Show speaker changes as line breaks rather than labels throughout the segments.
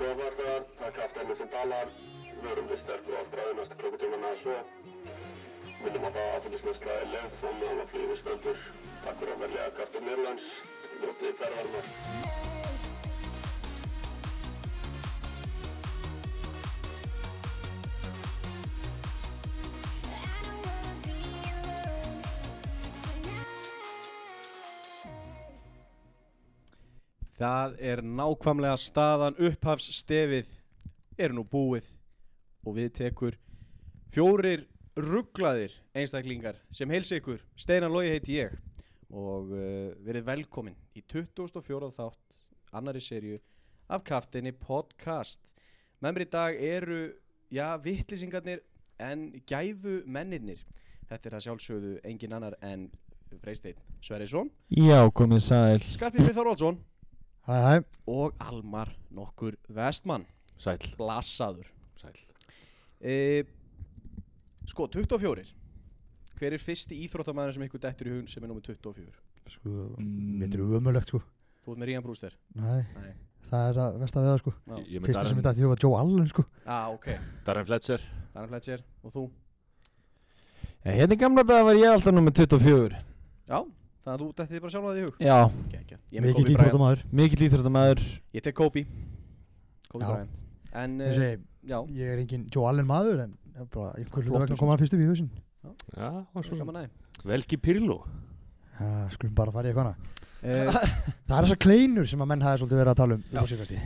var það, það er kraftarinn sem talar, við erum við sterkur á afbræði næsta klukkutíman eða svo. Minnum á það að aðfélagsnæsla er leið, fórum við hann að flýði stendur. Takk fyrir að velja Gartur Mýrlands, njótið ferðarnar.
Það er nákvæmlega staðan upphafsstefið er nú búið og við tekur fjórir rugglaðir einstaklingar sem heilsa ykkur, Steinar Lógi heiti ég og uh, verið velkomin í 2004 þátt annari serju af kaftinni podcast. Með mér í dag eru, já, vittlýsingarnir en gæfu menninir. Þetta er að sjálfsögðu engin annar en Freysteinn Sverrisson,
Já, komið sæl
Skarpífi Þorvaldsson
Hæ, hæ
og Almar nokkur vestmann
Sæl,
blassaður
sæl
e, sko 24 hver er fyrsti íþróttamæður sem ykkur dettur í hugun sem er nummið 24
Sko, mitt er umöðlegt sko
þú ert með Rían Brúster
Nei,
Mm. Nei.
það er það verst að við það sko
Já.
Ég ég er með
Fyrsta sem
Darren,
þetta að ég var Joe Allen sko
ah, ok
Darren Fletcher
Darren Fletcher og þú
Já, hérna í gamla dag var ég alltaf nummið 24
já þannig að þú dettið bara sjálf að því í hug
Já,
okay, ég, er með
Mikið
Kobe Bryant.
líkþrótt á maður
mikill íþróttamæður
ég tek Kobe Kobe
Já.
Bryant en
Ég
uh,
segi,
já
ég er engin Joe Allen maður En ég er bara, ég
Flottur
kvöldu
sko.
vegna
samt.
koma hann fyrst upp í hausinn
Já, og svo sem
gaman aðeins.
Velki Pirlo
Já, skulum bara fara í eitthvað annað
Eh,
Það er þessar kleinur sem að menn hafi svolítið verið að tala um upp á síðkastið.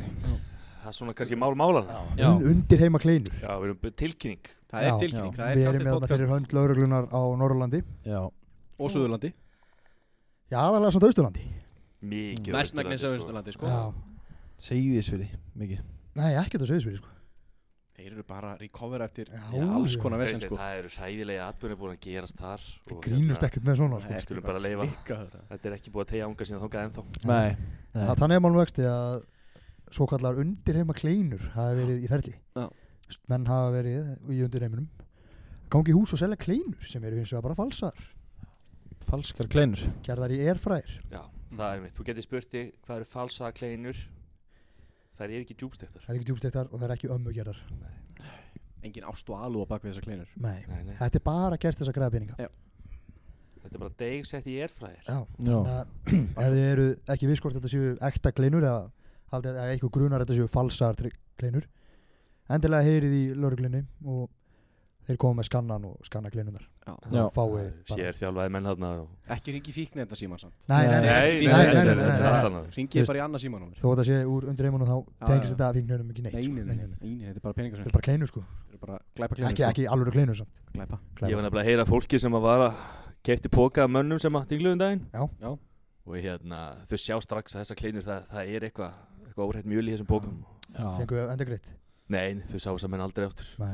Það er svona kannski mál málana Já,
Un- Undir heima kleinur
já við erum be- tilkynning
það er
Já.
tilkynning það er
Við erum með
kaftin
þarna
podcast
fyrir hönd lauruglunar á Norrlandi
Já,
og Suðurlandi
Já, aðalega svona Austurlandi
Mikið
mestmægnis
Austurlandi,
af
sko.
Suðurlandi sko
Já
segðis fyrir, mikið
Nei, ekkert á Söðisveri sko
þeir eru bara að recovera eftir
Já,
alls
já.
konar
Veist
vesen
þið,
sko
Það eru sæðilega atbyrðir búin að gerast þar og
Grínust
hérna,
ekkert með svona sko
Nei,
skulum
þetta er
bara leyfa.
klikkað þetta.
Þetta er ekki búið að tegja ánga síðan þókað ennþá
Nei,
Þa- Þannig er málum vexti að svo kallar undirheima kleinur hafi verið í ferli
Já.
menn hafa verið í undirheiminum gangi í hús og selja kleinur sem eru eins og bara falsar
falskar kleinur
gerðar í erfræðir
Já, það er mitt Þú getur spurt þig hvað eru falsa kleinur Það er ekki djúbstektar
það er ekki djúbstektar og það er ekki ömmu gerðar
engin ást og alúð á bak við þessar kleinur
Nei.
Nei, nei,
þetta er bara gert þess að græða peninga
þetta er bara deg sett í erfræðir
Já.
Já,
Þannig að ef þið eru ekki viss hvort þetta séu ekta kleinur eða haldið að eitthvað grunar þetta séu falsar tri- kleinur endilega heyrið í lauruglunni og þeir koma með skannan og skanna kleinunar
Já.
fáið bara-
Sér þjálfaði menn þarna og-
ekki ringi fíknefnda síman samt
Nei, nei, nei,
Nei, nei, nei,
nei, nei,
þetta er
nei, nei,
allt
nei.
annað.
ringi bara í annað síman
þó að það sé úr undir heimunum þá
Já,
tengist
já.
þetta að fíknunum ekki neitt
nei,
sko.
nei, nei, nei, nei, þetta er bara peningar
þetta
sem
er bara kleinur sko
þetta er bara glæpa
ekki,
kleinur
ekki alveg kleinur samt
sko. glæpa
Ég var
Klæðar.
nefnilega að heyra fólki sem að var að kefti póka af mönnum sem að dingluðum daginn
Já.
Já.
Og hérna, þau sjá strax að þessar kleinur það, það er eitthvað eitthva órætt mjöl í þessum pókum
já,
fengu endur greitt
Nei, þau sá þess að menn aldrei aftur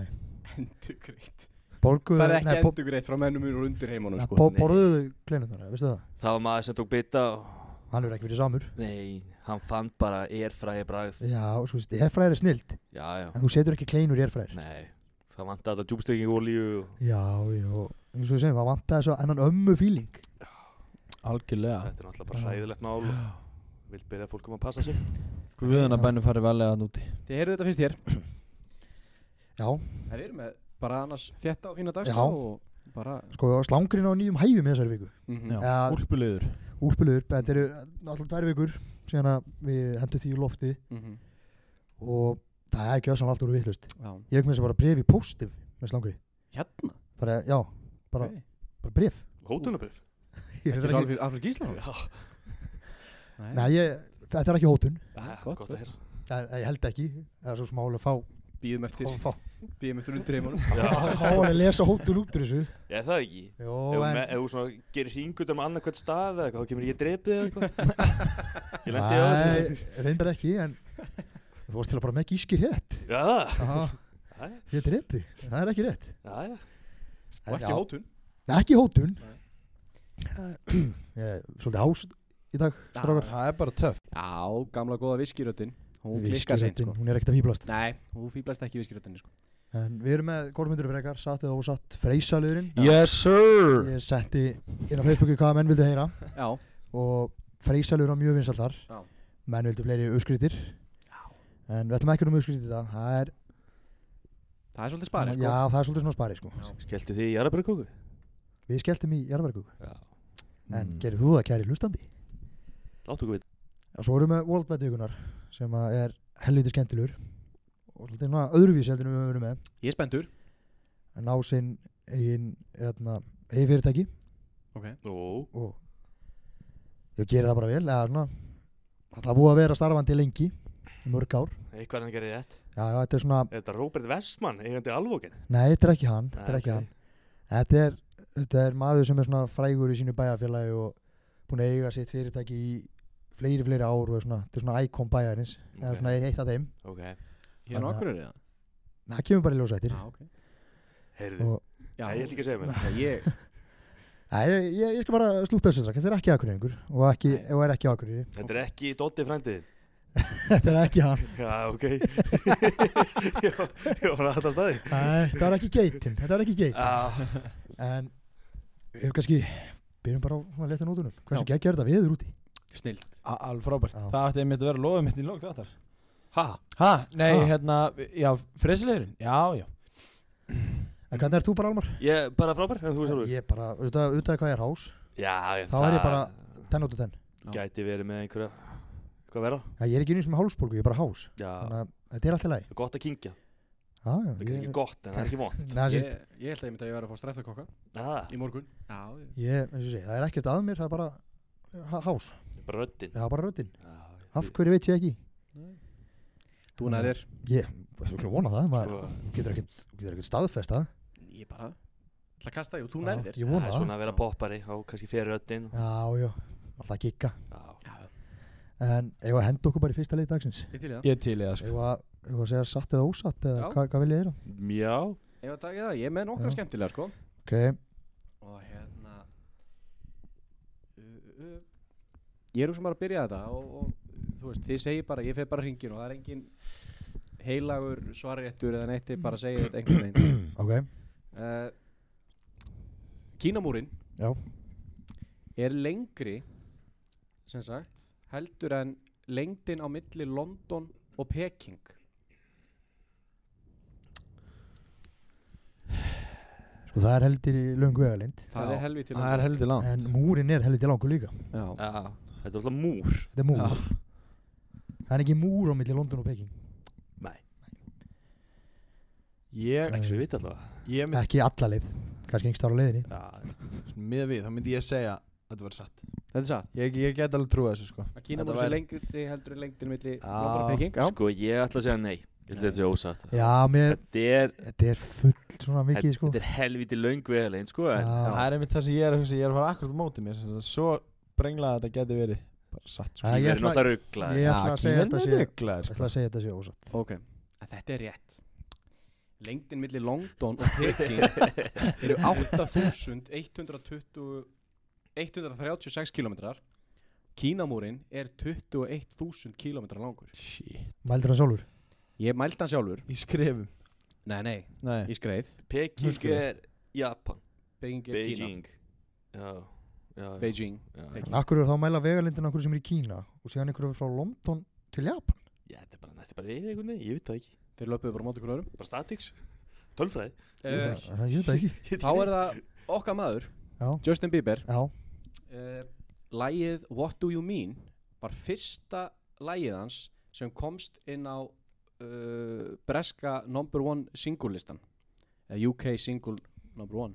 endugreitt
borgu
það er ekki endugreitt frá mennum úr undir heimunum sko.
bo
nei.
borðuðu kleinunar veistu það
Það var maður sem tók bita og
hann er ekki verið samur
Nei, hann fann bara erfræði bragð
já svo veist erfræðir er snild
Já, já,
en þú setur ekki kleinur í erfræðir
nei Það vantaði þetta djúbstöking olíu og
já já eins og við segjum það vantaði svo ennan ömmu fíling
algjörlega
Þetta er náttúrulega bara hræðilegt mál og vilt byrja fólk um að passa sig
Guðan að bænum farið valega að núti
þið heyrðu þetta fyrst hér
já
það er með bara annars þetta og fína dag
Já.
og bara
sko slangurinn á nýjum hæðum í þessari viku
mhm.
Já,
Já.
úlpulegur
úrpilur þetta eru alltaf tvær vikur síðan að við hendum því í lofti
Mhm.
og það er ekki össan allt úr vittlust
Já.
ég hef með þess að bara bref í póstum með slangri
hérna
bara já bara,
ok.
bara bref
Hótunabrif
Ég
ekki
reyndar
svo
ekki-
alveg fyrir Alfred Gísla
Já,
nei,
Nei, ég, þetta er ekki hótun
það er Ah,
gott.
gott að heyra
Ég, ég held ekki, það er svo smálega fá
býðum eftir
fá-
býðum eftir undir heimunum
fá Há hann að lesa hótun út úr þessu
Ég það ekki
Jó,
Ef þú
en
me- ef þú svona gerir hringut um annað hvert stað eða eitthvað, þá kemur ég drepið eða eitthvað. ég lendi á
Nei,
það.
reyndar ekki, en Þú varst til að bara með gískir rétt
Já, það.
Aha.
Jæja.
Ég drefti, það er ekki rétt
Já, já.
og
En
ekki
já,
hótun
Ekki hótun Ég er Svolítið hás í dag,
Já,
strákar
Það er bara töff
já gamla góða viskiröttin hún klikkar seint
Viskiröddin,
sko
Hún er ekkert að fýblast
nei hún fýblast ekki viskiröttinni sko
En við erum með kormyndur frekar, satt eða ósatt Freysaliðurinn
Yes sir
Ég setti inn á Facebooki hvað menn vildu heyra
já
og freysalur á mjög vinsalt þar
Já.
menn vildu fleiri öskritir en við ætlum ekki um útskrítið þetta það er,
Það er svolítið sparið
já
sko.
það er svolítið svona spari sko.
Skeltu því í jarðabækóku?
við skelltum í jarðverku en
Mm.
gerir þú það kæri hlustandi
Láttu okkur við
og svo erum við World Bet vikunar sem að er helviti skemmtilegur og svolítið svona öðruvísi heldur en við höfum verið með
Ég er spendur
að ná sinn eigin, hérna, eigin fyrirtæki
okay.
Ó,
og ég geri það bara vel eða svona það er búið að vera starfandi lengi í mörg ár
eitthvað er hann gerir rétt
já, já, þetta er svona,
Er þetta Robert Westman, eigandi alvókin?
nei, þetta er ekki hann þetta er ekki
Nei,
hann þetta er, þetta er maður sem er svona frægur í sínu bæjarfélagi og búin að eiga sitt fyrirtæki í fleiri, fleiri ár og er svona, þetta er svona íkon bæjarins eða
Ok.
svona eitt af þeim
Ok,
Ég er
Þannig að-
nokkur er það
það kemur bara í ljósa eittir
Já, Ah, ok
heyrðu
og
Já,
Nei, ég ætla ekki að segja mér
Nei, ég
Nei, ég, ég, ég skal bara slúta þessu strakk, þetta er ekki akureyringur og, ekki,
Nei.
og er ekki akureyri
Þetta er ekki Doddi frændið
Þetta er ekki hann
Já, ok Ég var ég var bara að þetta staði
Nei, þetta var ekki geitin, þetta var ekki geitin
Já,
En við kannski byrjum bara á að leta nótunum Hversu geggja er þetta viður úti?
Snill
Alveg frábært
Já.
Það átti einmitt að vera loðið mitt í lók þáttar
Ha?
Ha? Nei,
Ha?
hérna, já, fresilegurinn Já, já
En hvernig ert þú bara Almar?
ég bara frábær, en þú sjálfur
Ég bara, auðvitað, auðvitað hvað ég er hás
Já, ég,
Þá er ég bara 10 út af 10
Gæti verið með einhverja Hvað vera?
Já, Ég er ekki einu sem hálsbólgu, ég er bara hás
Já,
Þannig að þetta er alltaf læg
það er gott að kingja
Já,
Það
já,
er kannski
ég,
ekki gott, en það er ekki von
Nei, það
Ég,
sést-
ég held að ég myndi að ég væri að fá streftakokka
Það,
í morgun Já, ég-
ég, eins og ég segi, það er ekkert að mér, það er bara ha- hás
bara röddin
Það er bara röddinn,
Já, ég-
af hverju veit ég ekki
þú nær er
Ég, þú ekki vona það, maður
Sko,
þú getur ekkert- þú getur ekkert staðfest það
Ég bara ætla að kasta því og þú nær þér
Ég
Það
vona
er
það
svona að vera poppari Þá kannski fer röddin
Já, já, alltaf að gigga
Já,
Já,
En eigum við að henda okkur bara í fyrsta leik dagsins
ég til í það
Ég til í það, sko
Eigum við að, eigum við að segja satt eða ósatt eða
Já.
hvað, hvað vil ég þeirra
já.
Ég, var að taka það, ég er með nokkra
Já.
skemmtilega sko
Ok,
og hérna uh, uh, ég er hugsa bara að byrja þetta og, og þú veist, þið segir bara, ég fer bara hringin og það er engin heilagur svarréttur eða neitt, þið bara segir þetta einhvern veginn
mm, ok,
uh, Kínamúrin
já
er lengri sem sagt, heldur en lengdin á milli London og Peking
Sko það er heldur í löngu vegalind
það
Já,
er helvið til
Það er heldur langt
En múrin er heldur í langu líka
já,
Já, Þetta er alltaf múr
Þetta er múr
Já.
Það er ekki múr á milli London og Peking
Nei,
Ég,
ekki svo við vita allavega
ég myndi,
Ekki alla leið, kannski yngst ára leiðinni
Já,
miða við, þá myndi ég segja að þetta var satt
þetta er satt
Ég, ég get alveg trúið þessu, sko
að
Þetta
Kínamúrin
væri-
er lengri heldur en lengdin milli
Já.
London og Peking já.
Sko ég ætla að segja nei Ég ætla að þetta sé ósatt
Já, mér,
Þetta er
þetta er full svona mikið sko
Þetta er helviti löng veðalein sko en
Já.
Það er einmitt það sem ég er að hugsa, ég er að fara akkurat á móti mér sem sagt, Svo brenglað að þetta geti verið Bara satt, sko
Já,
Ég
ég
verður
ætla-
náttúrulega rugglaði
Ég ætla að segja þetta sé
rugglaður,
Ég ætla
sko
að segja þetta sé ósatt
Ok, en þetta er rétt Lengdin milli London og Peking eru 8120 136 kilometrar Kínamúrin er 21.000 kilometrar langur
Shit,
Mældur hann sjálfur
Ég mældi hann sjálfur
í skrifum
Nei, nei,
Nei,
ég skreið
Peking
Hugskið
er Japan
Beijing er Kína
Beijing Já Já, já,
Beijing
já, já.
Peking.
En akkur er þá að mæla vegalindin okkur sem er í Kína Og síðan ykkur frá London til Japan
Já, Þetta er bara næstu bara við einhvern veginn Ég veit það ekki
Þeir löpuðu bara á móti hverjum
Bara statics Tölfræði
uh,
Það ég veit það ekki
Ég veit
Þá
ekki.
er það okkar maður
Já,
Justin Bieber
já
uh, Lægið What Do You Mean var fyrsta lægið hans sem komst inn á uh, breska number one singullistan eða UK single number one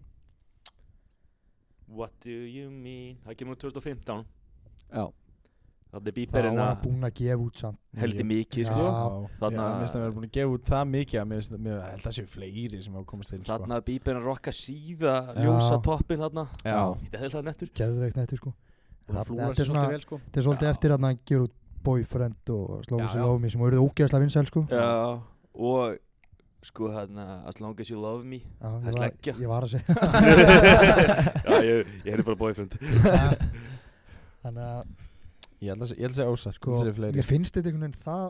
What do you mean Það kemur úr 2015
Já,
Þannig er
Það var
bíberinn
hann búin að gefa út samt
Heldi mikið sko
Já.
Þannig
Þarna-
að mér finnst að vera búin að gefa út það mikið að mér finnst að mér held að það séu fleiri sem hafa komist til sko.
Þannig að bíberinn rokka síða Ljósa toppin þarna
Já.
Þetta er heðlega nettur
Geðveikt nettur sko
það
Það-
flúrar
Þetta er
sér
svona
svolítið vel sko
Þetta er svolítið
Já.
eftir að hann gefur út Boyfriend og
Já,
Slóðu sér
já.
lofum í sem eru ógeðslega vinsæl sko
Já Og Sko þarna As long as you love me
Já,
það er
ég,
sleggja.
var, ég var að segja
Já, ég, ég hefði bara boyfriend
Þannig að
Ég held að se- ég held að segja ósatt
sko,
sko, fleiri
Ég finnst þetta einhvern veginn það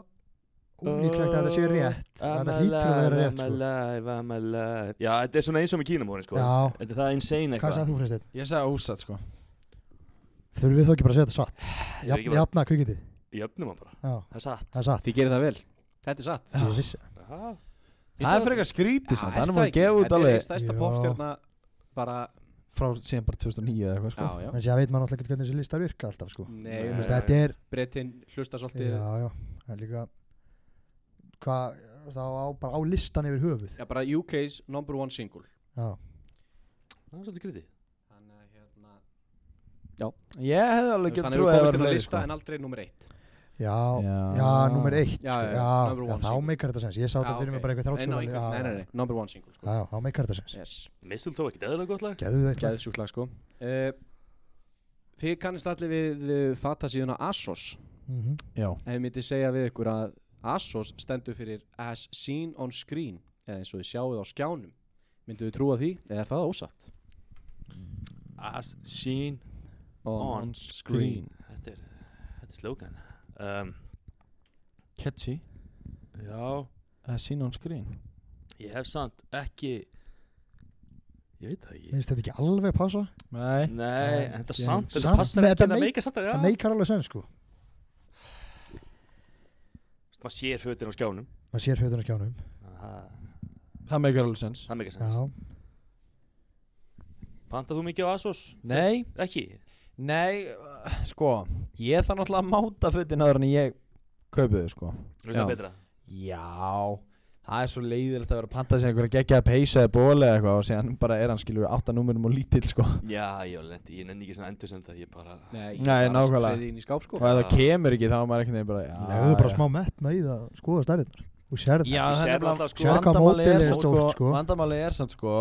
Ólíklegt að þetta sé rétt Þetta hlýtur að vera rétt
I'm
sko
alive, I'm alive Já, þetta er svona eins og með kínamórin sko
Já,
Þetta er það insane
hvað
eitthvað
sagði þú finnst þetta?
Ég sagði ósatt sko
Þurfum við þó ekki bara að segja þetta satt
Ég er ekki
Jafn-
bara-
Jafna kvikindi
Jöfnum hann bara,
Já,
það er satt
það er satt
Þið gerir það vel Þetta er satt
ég vissi það.
Aha.
Það er
Ísland-
frekar skrítið samt,
Já,
hann
er
er búin
það
að
ekki?
gefa út
Þetta er
alveg
eitt stærsta
Já.
popstjörna bara,
frá síðan bara 2009 eða eitthvað
já,
sko
já
en sér veit maður náttúrulega ekki hvernig þessi listar virka alltaf sko.
Nei,
Þú
nei,
veist,
nei.
þetta er
Bretinn hlusta svolítið
já, já, það er líka hvað, þá á, bara á listan yfir höfuð
Já, bara UK's number one single
já,
Það er svolítið skrítið
Þannig að hérna
Ég hefði
þú
alveg
veist,
gett
Hann
trúið
hefur
að
komist inn á
það var fleiri
lista hérna.
sko
en aldrei nummer eitt
já,
Já.
já, nummer eitt
Já,
sko.
já,
já,
number
já,
one
þá
single.
meikar þetta sens ég sá þetta
Já,
fyrir
ok.
mig bara eitthvað
En á
30
einhvern- Nei, nei, nei, number one single sko
já, já, þá meikar þetta sens
Yes,
Mistletoe, ekkert eðlilega gott lag
geðu þetta
geðsjúkt lag sko Eh, Þið kannist allir við eh, fatasíðuna ASOS
Mhm.
Já,
Ef ég myndi segja við ykkur að ASOS stendur fyrir As Seen on Screen eða eins og þið sjáuð á skjánum myndu þið trúa því eða er það ósatt
As seen On
Green
Þetta er, þetta er slókan um,
Catchy
Já,
Það er sín on screen
ég hef samt ekki Ég veit það ekki
minnst þetta ekki alveg passa
Nei
Nei, en þetta
Ekki
samt,
einu.
þetta
Samt,
passar
nei,
ekki
þetta
Það
meik-
meikar samt að
það
já
meikar alveg sens sko
Maður sér fötin á skjánum
maður sér fjöðun á skjánum
Aha,
Það meikar alveg sens
Það meikar sens
já,
Pantað þú mikið á Asos?
Nei,
Ekki?
nei, uh, sko Ég þarf náttúrulega að máta fötin áður en ég kaupi þau sko
Þú veist það
Já.
betra
Já Það er svo leiðilegt að vera að panta sér einhverja geggjaða peysa eða ból eða eitthvað og síðan bara er hann skilur átta númurum og lítill sko
Já, já, lendi, ég nenni ekki svona endursenda Ég bara
Nei,
Nei, nákvæmlega.
Það er inn í skáp sko
og ef það kemur ekki þá er maður einhvern veginn bara já,
legðu bara
já.
smá metna í það skoða stærðirnar og sér það
Já,
Þú
það
sérð
er bara
alltaf, sko.
sko,
Sérð hvað
vandamáli
módelið
er samt sko, vandamáli
er stórt, sko.
er samt sko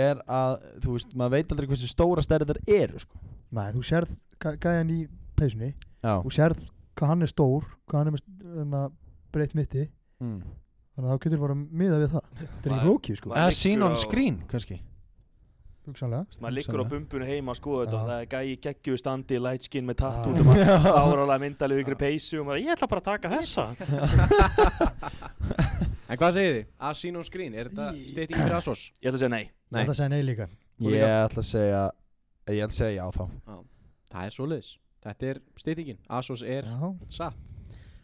er að, þú veist, maður veit aldrei hversu stóra stærðir eru sko
nei, þú sérð gæ- gæjan í peysunni
Já
þú sérð hvað hann er stór hvað hann er með breytt mitti
mm.
þannig að þá getur bara miða við það þetta er
Maður-
ekki flókið sko,
maður-
Eða
liggur
sín on
á-
screen, kannski
hugsanlega
Þú veist, maður liggur á
Hugsanlega.
bumbunum heima og skoða þetta
Já.
og það er gæi geggju standi light skin með tatt
Já.
út um og maður árálega myndalegu ykkur peysu og maður, ég ætla bara að taka þessa
En hvað segir þið? As Seen on Screen, er þetta
Í-
steyting fyrir ASOS?
ég ætla að segja nei
Ég ætla að segja nei líka
Þú
Ég
líka?
ætla að segja Ég ætla að segja já þá
Það er svoleiðis Þetta er steytingin, ASOS er
Já,
satt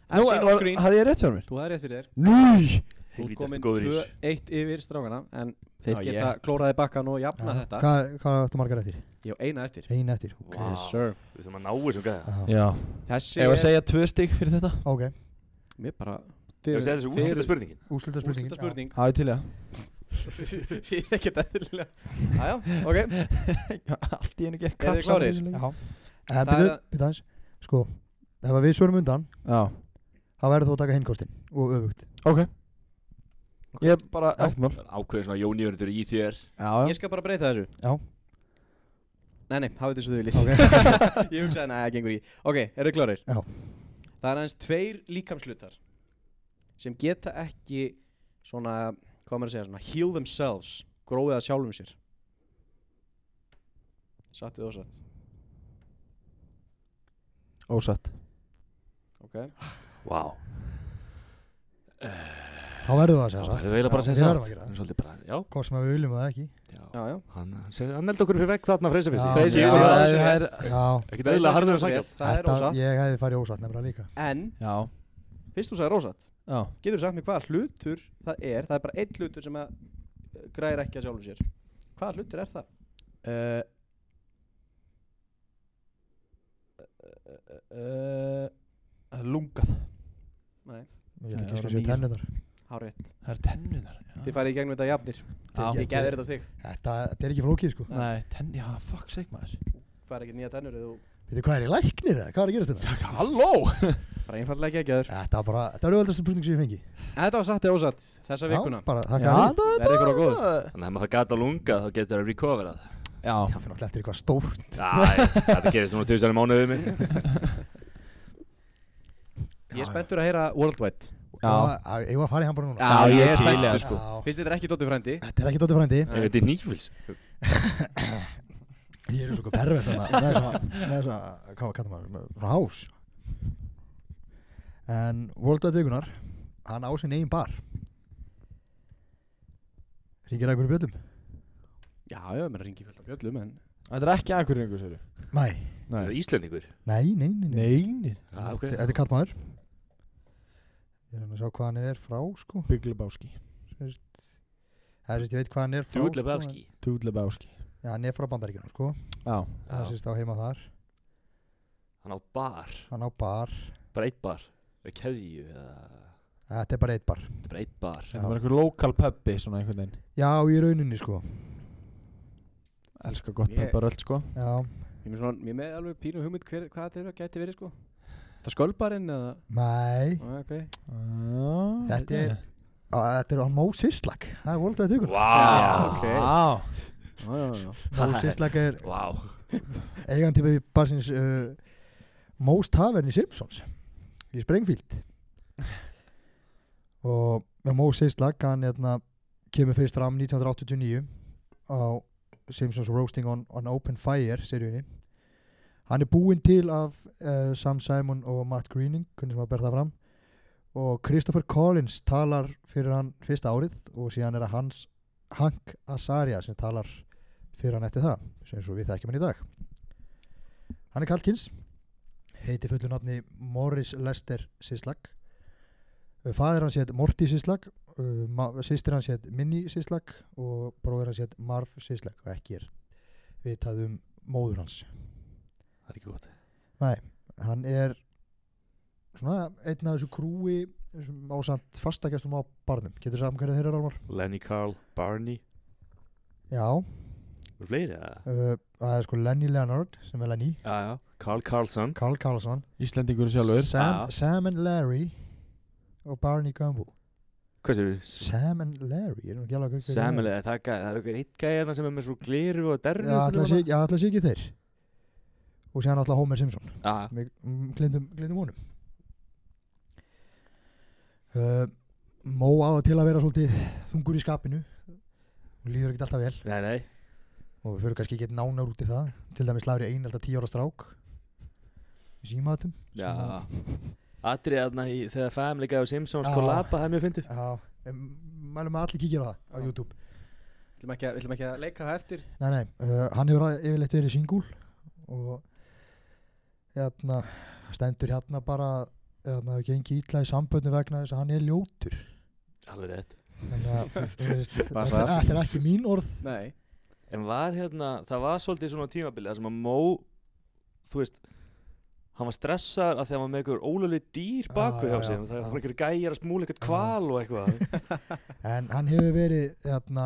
As
Nú,
Seen on
var-
Screen,
hafði ég rétt fyrir mér?
þú hefði rétt fyrir þér
Nýj
Þú er
Helvítið, ertu
komin
góður í þessu.
2-1 yfir strákana En þeir
Já,
geta yeah.
ég-
klóraði bakkan og
já.
jafna þetta
Hvað hvað áttu margar eftir?
Ég á eina eftir
Einn eftir
Vá.
okay.
Yes, sir.
við þurfum að ná þessum gæða
Já.
Já
Þessi
Ef að
er
segja tvö stygg fyrir þetta
Ok,
Mér bara
ég ætla að segja þessu úrslita spurningin
úslita spurningin
Úrslita spurning
Já, ég til ég
Þið er ekkert eðlilega Jájá, ok
Allt í einu
Eruð þið
gekk kapsam í
klárir?
þessu leik.
Já, en
Það
byrju,
er-
byrju aðeins Sko, ef að við svörum undan
Já,
þá verður þú að taka hinnkostin og öfugt
ok Ég bara, ekkert mál
ákveðin svona jónjörður í þér
Já, já
Ég skal bara breyta þessu
Já.
Nei, nei, hafið þessu þau viljið okay. Ég hugsaði, nei, það gengur í Ok, eru klárir?
Já.
Það er aðeins tveir líkamslutar sem geta ekki svona, hvað á maður að segja, svona heal themselves, gróið að sjálfum sér Satt við ósatt
Ósatt
Ok
wow.
Þá verður það að
það
segja
er
það
eiginlega bara að
Já,
segja
við
satt.
verðum að gera það.
Það er svolítið bara, já,
Hvort sem að við viljum það ekki
já.
Já, já
hann, hann, hann eldi okkur fyrir vekk þarna freysa
Já.
fyrir
Freysi
sig
Já,
það
það
er
Já,
ekkert eðlilega harður að sækja
Það er
þetta-
ósatt
Ég hefði farið ósatt nefnilega líka
En,
Já,
fyrst þú sagði ósatt
já
Getur þú sagt mér hvaða hlutur það er Það er bara einn hlutur sem að eh, græðir ekki að sjálfum sér Hvaða hlutur er það?
Uh, uh, uh, lungað
Nei,
Ég
Nei,
ætla ekki
það
að
var
séu tennunar
hárétt
Það eru tennunar
Þið
Ah.
farið í gegnum þetta jafnir
Já.
Ég geði þetta stig
Þetta þetta er ekki flókið sko
Nei, tenn, já, fuck sake maður
Þú farið ekki nýja tennur eða þú
Veitir hvað er í læknir það? Hvað er að gerast þetta?
Halló
bara einfallega ekki að geður
Þetta var bara, þetta var auðvöldast spurning sem ég fengi
Þetta var satt eða ósatt þessa vikuna
bara
Já,
þakka
það
fyrir
er
Verði ykkur á góðu
Þannig að ef maður gata lunga þá getur það recoverað
Já,
Það fyrir náttúrulega eftir eitthvað stórt
Æ, Þetta gerist núna tvisar í mánuðið mig
Ég er spenntur að heyra Worldwide
Já.
Ég var að fara í hann bara núna
Já, ég er til í
spenntur
það,
sko
Já.
Finnst þér þetta ekki Dóttir frændi?
Þetta er ekki Dóttir frændi
Ef þetta er nýfils
Ég er svo pervert þannig með þess að, með þess að, hvað var kattum maður, með- frá hás En World of Vikunar, hann á sinn eigin bar Ringir að ykkur bjöllum?
Já, já, mér ringi fullt af bjöllum en
þetta er ekki akkuringur sér
Nei,
Íslendingur
nei, nei, nei, nei.
Nei,
Já, ok.
Þetta er kattmaður við erum að sjá hvað hann er frá sko
Big Lebowski
það er sérst ég veit hvað hann er frá
Drúðlega
sko,
bafski
Dude Lebowski
en- já, hann er frá bandaríkjunum sko
Já,
það er sérst á heima þar
Hann á bar,
hann á bar
bara eitt bar Eða keðju eða
þetta er bara eitt bar
Þetta er bara eitt bar
þetta var einhver lokal pubbi svona einhvern veginn
já í rauninni sko
Elskar gott
Ég-
pubbaröld sko
já
Ég með svona, ég með alveg pínu hugmynd hver, hvað þetta er- gæti verið sko Það skölbarinn eða
mæ
ah, ok.
Þetta er- Á, þetta er hann Mó Sisslak það er volið að tökur
Vá
ok.
Já,
já, já, já, já.
Mó Sisslak er
Vá
eigandi við barsins uh, Móst Tavern í Simpsons í Springfield og með Móst Sisslak hann hérna, kemur fyrst fram 1989 á Simpsons Roasting on, on Open Fire seríunni hann er búinn til af uh, Sam Simon og Matt Greening hvernig sem að berða fram og Christopher Collins talar fyrir hann fyrsta árið og síðan er að hans Hank Azaria sem talar fyrir hann eftir það sem svo við þekkjum hann í dag Hann er Kalkins, heiti fullu nafni Morris Lester Sislag. Fæðir hans hétt Morty Sislag, sýstir hans hétt Minnie Sislag og bróðir hans hétt Marv Sislag og ekki er vitað um móður hans.
Það er ekki gott
Hann er svona einn af þessu krúi sem ásamt fastagestum á barnum. Getur saman hverju þeirra rálmar?
Lenny Carl Barney
Já,
Voru fleiri eða?
uh, það er sko Lenny Leonard sem er Lenny,
Já, já Carl Carlson
Carl Carlson,
Íslendingur sjálfur
Sam,
Já.
Sam and Larry og Barney Gumble.
Hvað sér við?
Sam and Larry ég er nú ekki alveg að hugsa hvað
Samuel, eða það, er gæ- það er okkur eitt gæði hérna sem er með svo gliru og
það er.
derru
já, ætla að sé- já, ætla að sé ekki þeir og séðan alltaf Homer Simpson
Já,
Mig- m- glindum, glindum honum uh, Mó áða til að vera svolítið þungur í skapinu og líður ekkert alltaf vel
nei, nei
og við fyrir kannski ekki nánar út í það til dæmis lafri einn alltaf tíu ára strák í símaðatum
Já Atrið þarna í þegar Family Guy og Simpsons
Já.
kollaba, það er mjög fyndið
já, em, mælum að allir kíkja á það á
Já.
YouTube
Við ætlum ekki, að- við ætlum ekki að leika það eftir
Nei, nei, uh, hann hefur að- yfirleitt verið singul og hérna, stendur hérna bara hérna, hefur gengið ítla í samböndu vegna þess að hann er ljótur
Alveg rétt
þannig að þú veist, þetta
Passa.
er- þetta er ekki mín orð
Nei,
En var hérna, það var svolítið svona tímabilið þar sem að Mó, þú veist hann var stressaður að því að hann var með einhver ólega dýr bakvið
Já,
á
já,
sig og
já.
það var einhver gæjar að smúla einhvern kval og eitthvað
en hann hefur verið hérna,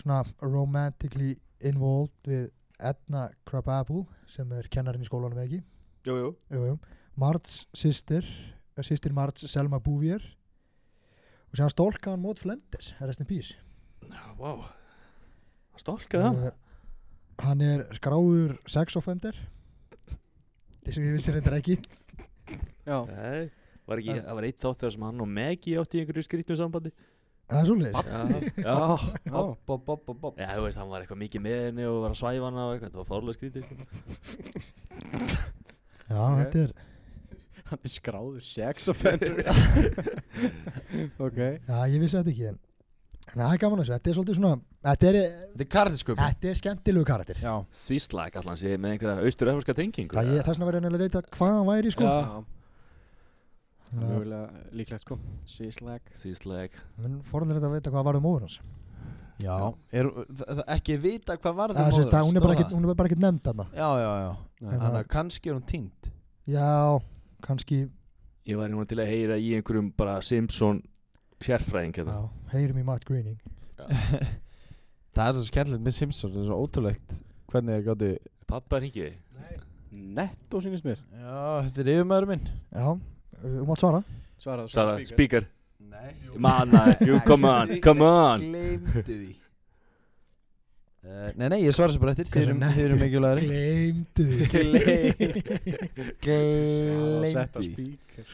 svona romantically involved við Edna Crabapple sem er kennarinn í skólanum eða ekki
Jú, jú
jú, jú. Marts sýstir sýstir Marts Selma Bouvier og sér hann stólka hann mót Flendes, rest in peace
Já, vá wow. Stólkaði hann?
Eh, Hann er skráður sex offender Þessum ég vissi reyndar ekki
já
Nei, var ekki,
En-
það var eitt þátt þegar sem hann og Maggie átti í einhverju skrýtnum sambandi
Það er svoleiðis
Já, já
já.
Bob, bob, bob, bob
Já, þú veist, hann var eitthvað mikið með henni og var að svæfa hana og eitthvað, það var fórlega skrítið sko.
Já,
Ok.
þetta er
Hann er skráður sex offender Ok
Já, ég vissi þetta ekki en En það er gaman að þessu, þetta er svolítið svona Þetta er,
Þetta er karðisköp
þetta er skemmtilegu karakter
Já,
Síslæk allan sé með einhverja austur-öfurska tengingu
Það ég, þessna var ég nefnilega að leita hvað hann væri sko
Já,
Þannig að-
mjögulega líklegt sko Síslag
Síslæk
Menn forðlega að veita hvað varðum móður hans
já er, það, það- Ekki vita hvað um varði
Það er sérst að hún er bara ekkert- hún er bara ekkert nefnd þarna
Já, já, já
Hérna-
Þannig að kannski er hún týnd
Já, kannski
Ég var einhvern til að heyra í einhverjum bara Simpson sérfræðing
já,
hérna.
Heyrum í Matt Greening
Það er svo skemmtilegt með Simpsons Það er svo ótrúlegt Hvernig ég gátti
Pappa ringiði
Netto sínist mér
Já, þetta er yfirmaður minn
Já, uh, þú mátt svara
Svaraðu
Sara, speaker
Nei
Manna, you come on, come on
Gleimdi því Uh, nei, nei, ég svara sér bara eftir Þið
Hversu
eru-
nettur?
þið eru mikilvægari
Gleimdu því.
Setta
Gleimdi
speaker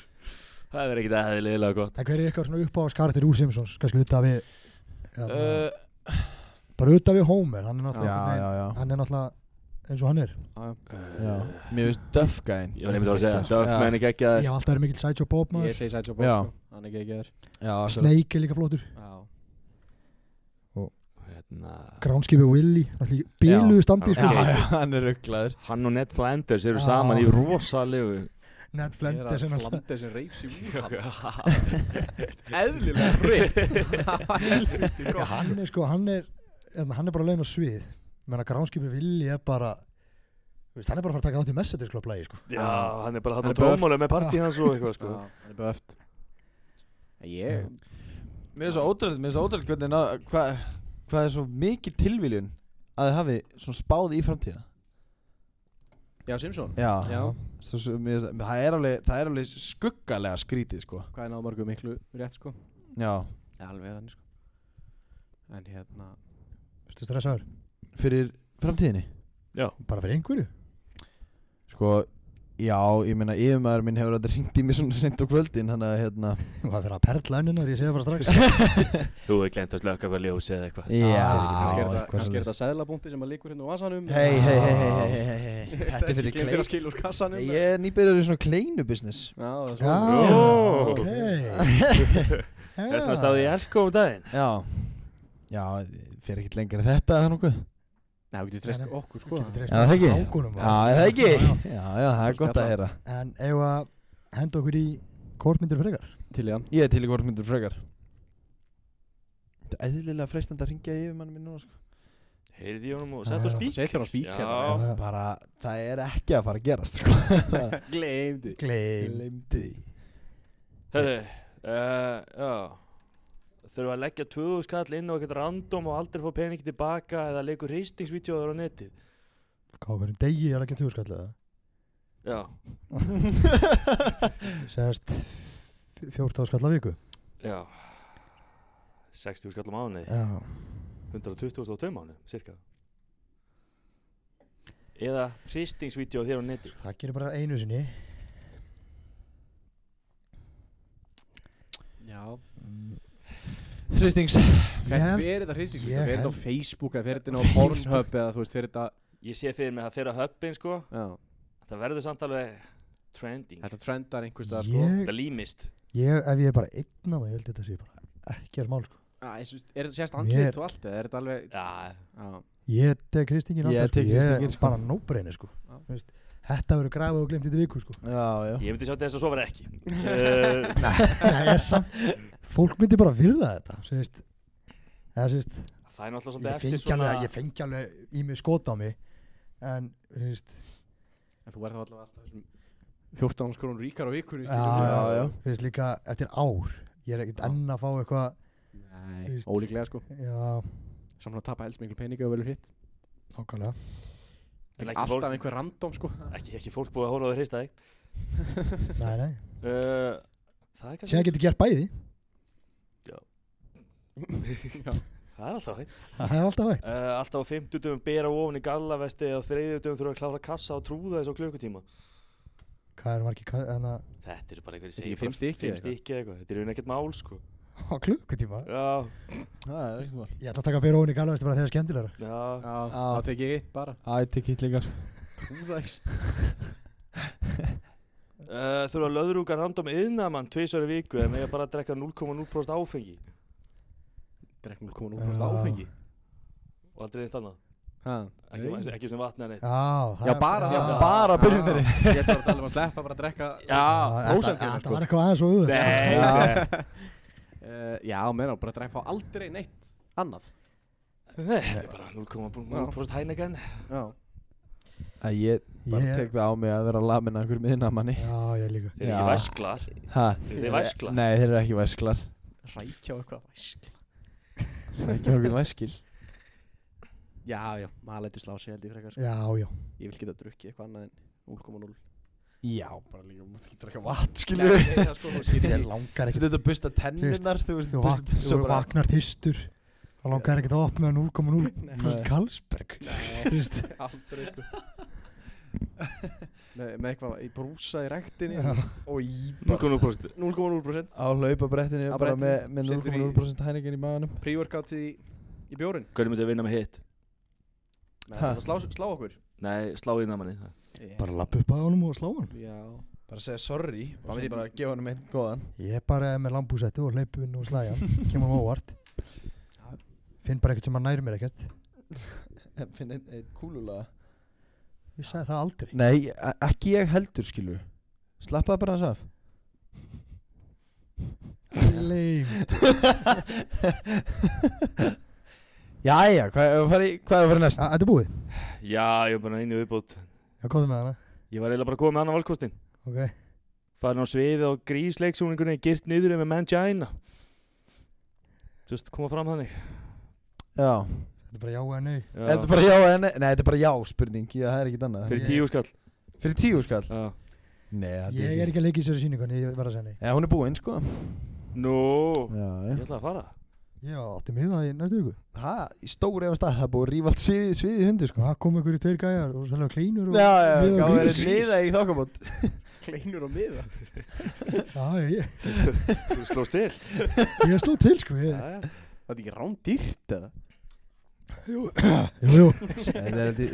Það er ekkert aðeinslega gott
En hver er eitthvað svona uppáháskartir úr Simpsons? Kannski utan við hérna,
Uh,
Bara utan við Homer Hann
Já,
er náttúrulega
já,
einhvern
já
veginn- Hann er náttúrulega eins og hann er
Já, mér finnst Duff gæinn
Eh. Ég var einmitt að segja, Duff
Já.
menn ekki ekki að
Ég hef alltaf verið mikill Sideshow Bob
Ég
maður
segi Sideshow Bob
Já.
sko Hann er geggjaður
Já, svo-
Snake er líka flottur
Já
hérna,
Gránskipi Willy Náttúrulega í bíluðu standi
Já,
já,
sko.
já, hann er rugglaður
Hann og Ned Flanders eru
Já.
saman í rosalegu
Ned
Þegar
Flanders er
að
náttúrulega-
Flandes er reyfs í úr
Eðlilega
Já, hann er sko, hann er hérna, hann er bara laun á svið menna gránskipin vilji er bara þú veist, hann er bara að fara að taka átt í Mercedes Club lagi sko.
Já, hann er bara
Hann
hann á
er buff.
trómálu með partí hans og eitthvað sko
Hann er böft Ég
Mér er svo ótrúlega, mér er svo ótrúlega hvernig ná- hvað hva er svo mikil tilviljun að þið hafi svona spáð í framtíða
Já, Simpson
Já,
Já.
Svo, svo, mér, finnst- það, er alveg, það er alveg skuggalega skrítið sko
Hvað er náðmargu miklu rétt sko
Já,
Já, alveg þannig sko En hérna
Ertu stressaður?
fyrir framtíðinni
bara fyrir einhverju
Sko, já, ég meina yfirmaður minn hefur alltaf ringt í mig svona sent á kvöldin Þannig að hérna
og það fyrir að perla önnunar, ég segi það bara strax
Þú er glemt að slöka fyrir ljósi eða eitthvað
Kannski er
eitthvað
þetta- kannski er
svoleiðis.
þetta sæðlabúnti sem að líkur hérna á vasanum
Hei, hei, hei, hei, hei, hei, hei, hei Þetta er fyrir
Ekki glemtir að
kleinu
skilja úr kassanum
Ég er nýbyrður í svona kleinu business
Já, það er
já,
svona
Ó.
ok
Þess vegna stáði ég elko um daginn
Já Já, fyrir ekkert lengra en þetta eða nokkuð
Já, við getum treyst okkur sko
Já, það ekki
águnum,
Já, er það ekki Já, já, það er gott að heyra
en ef að henda okkur í kortmyndir frekar
Til já
Ég er til í hvort myndur frekar Þetta er eðlilega freistandi að ringja yfir mann minn núna sko.
Heyrði ég honum og
Já,
sett á
já.
spík
Settir hann á spík
Já.
hérna,
Bara, það er ekki að fara að gerast sko.
já. Gleymdi
gleim
Gleimdi því
Herri, uh, já Þurfa að leggja 2000 skall inn á eitthvað random og aldrei fá peningi tilbaka eða leikur hristingsvídeóður á netið
hvað verður degi er ekki að tjóðskalla
Já,
segast 14 skalla viku
já 60 skall á mánuði
já
122 mánuði, cirka Eða hristingsvídeóð þér á netið
það gerir bara einu sinni
Já
Hristings
Hvert
held-
fyrir þetta hristingsvík?
ég
Fyrir þetta á
held-
Facebook eða fyrir þetta á
Facebook.
Pornhub eða þú veist fyrir þetta
Ég sé fyrir mig það fyrir að höppin sko
Já
Það verður samt alveg trending
Þetta trendar einhvers staðar sko
ég,
Þetta límist
ég, ef ég er bara einn af það ég held þetta sé bara ekki að smál sko.
Æ, ég syns- Er þetta sérst
Mér-
andlit og allt eða er þetta alveg
Já,
Já
ég tek Kristingin
Ég
alltaf sko.
tek Kristinginn, sko.
bara nóbreinu sko.
Já.
Þú veist, þetta verður grafið og glemt þetta viku sko.
Já, já
ég myndi sjá til þess að svo vera ekki uh,
Nei, ég samt, fólk myndi bara virða þetta sem veist, eða, sem veist,
Það er náttúrulega svolítið
ég,
eftir
fengi
svona
alveg, ég fengi alveg í mig skot á mig en þú veist,
En þú verður þá allavega alltaf þessum 14 áns krónur ríkar á vikunni
já,
já, já.
þú veist líka eftir ár ég er ekkert
Já.
enn að fá eitthvað Þú
Nei,
veist.
ólíklega sko
já,
Saman að tapa helst miklu peninga og velur hitt
okkarlega
En ekki
Alltaf
fólk-
einhver random sko
ekki, ekki fólk búið að hóla á því hrista þig
nei, nei,
uh, Það er
sem
kannski
það getur gert bæði
Já.
Það er alltaf hægt
það er alltaf hægt
uh, Alltaf á 50 dögum bera ofan í gallavesti og þriðju dögum þurfa að klára kassa og trúða þess á klukkutíma
hvað er margir, hérna, ka- en að
Þetta eru bara einhverjir
Þetta eru
segir
fimm
bara
stykki
Fimm
eða eitthvað?
stykki eða eitthvað Þetta eru ekkert mál sko
á klukkutíma
Já,
Það er ekkert mál
ég ætla að taka að bera ofan í galvægst bara þegar það er skemmtilegra
já
Já,
Já.
þá tek ég eitt bara
Æ, tek hitt líka
Húðæks
uh, Þurfa að löðrúka random yðnamann tvisari viku eða mega bara að drekka 0,0% áfengi
Drekk 0,0% áfengi
og aldrei neitt annað
Ha.
Ekki, ekki, ekki svona vatna neitt
já, það
Já,
er-
bara
já,
bara- pilsnerinn.
Ég ætla að tala um að sleppa bara að drekka
Já,
Já, þetta-
ósæmtjana
þetta
sko
var eitthvað aðeins og auðvitað
Nei, nei.
uh, Já, menna, bara að drekka fá aldrei neitt annað
Nei, þetta er bara 0,0% Heineken
Já
Æ, ég bara
Ég-
tek það á mig að vera að lamina einhver miðna manni
Já, ég líka
Þeir eru
Já.
ekki væsklar
Ha?
Þeir eru væsklar
Nei, þeir eru ekki væsklar
Rækja og eitthvað væsk
Það er Ekki okkur væskil
Já, já, maður lætur slá sig held ég frekar sko.
Já, já
Ég vil geta að drukki eitthvað annað en 0,0
Já, bara líka, þú mátt ekki drekka vatn, skilju
Nei, nei, það sko, þú veist,
Ég langar
Þetta er að busta tenninnar, þú veist,
Þú,
busta
vak, þú
bara-
vaknar þýstur Það langar ekkert að opna 0,0
Nei.
Karlsberg Þú veist,
Aldrei sko með, með eitthvað í brúsa í rektinni
Já.
Og í
0,0%
0,0%
Á hlaupabrettinu,
Á
bara með,
brettinu,
með
setur í-
0,0% hæningin í maðanum
Pre-workout í, í bjórin
Hvernig myndið að vinna með hitt?
Nei,
Ha.
það slá, slá okkur
Nei, slá í namanni
Bara lappa upp að honum og slá hann
Já
Bara segja sorry
og
og
svo
bara
bara
gefa hann með góðan
Ég er bara með lambúsetti og hleyp inn og slæja Kemur hann óvart Finn bara ekkert sem hann nær mér ekkert
Finn einn ein kúlulaga
Ég sagði það aldrei
Nei, e- ekki ég heldur, skilju Slappaði bara hans af
Leim
Jæja, hvað er að fara í- hvað er að fara í næst?
Þetta er búið
Já, ég er bara einu viðbútt
Já, komðu með hana
Ég var eiginlega bara að koma með annan valkostin
Ok
Farin á sviðið á grísleiksúningunni Girt niður með mangina Just koma fram þannig
Já,
Þetta er bara já eða
er
nei
þetta bara já eða nei? Nei, þetta er bara já spurning, já, það er ekkit annað
Fyrir
Ég-
tíu skall
Fyrir tíu skall?
Já.
Nei, það
Ég er ekki að leika í þessari síningu En ég verð að segja nei
Já, hún er búinn, sko
Nú,
Já, já
ég ætla að fara
Já, átti mig það í næstu viku
Hæ, í stóri efa stað, það er búið að rífa allt sviðið sviðið hundi, sko
Hvað kom einhverju tveir gæjar og svolítið klínur og
Já, já,
miðar og
gáði
grís.
verið liða í þokkabót
Kleinur og miða
Já, ég,
Þú sló stil
ég sló til sko ég,
Þetta
Það er ekki rándýrt eða?
Jú, jú,
Þetta er heldur,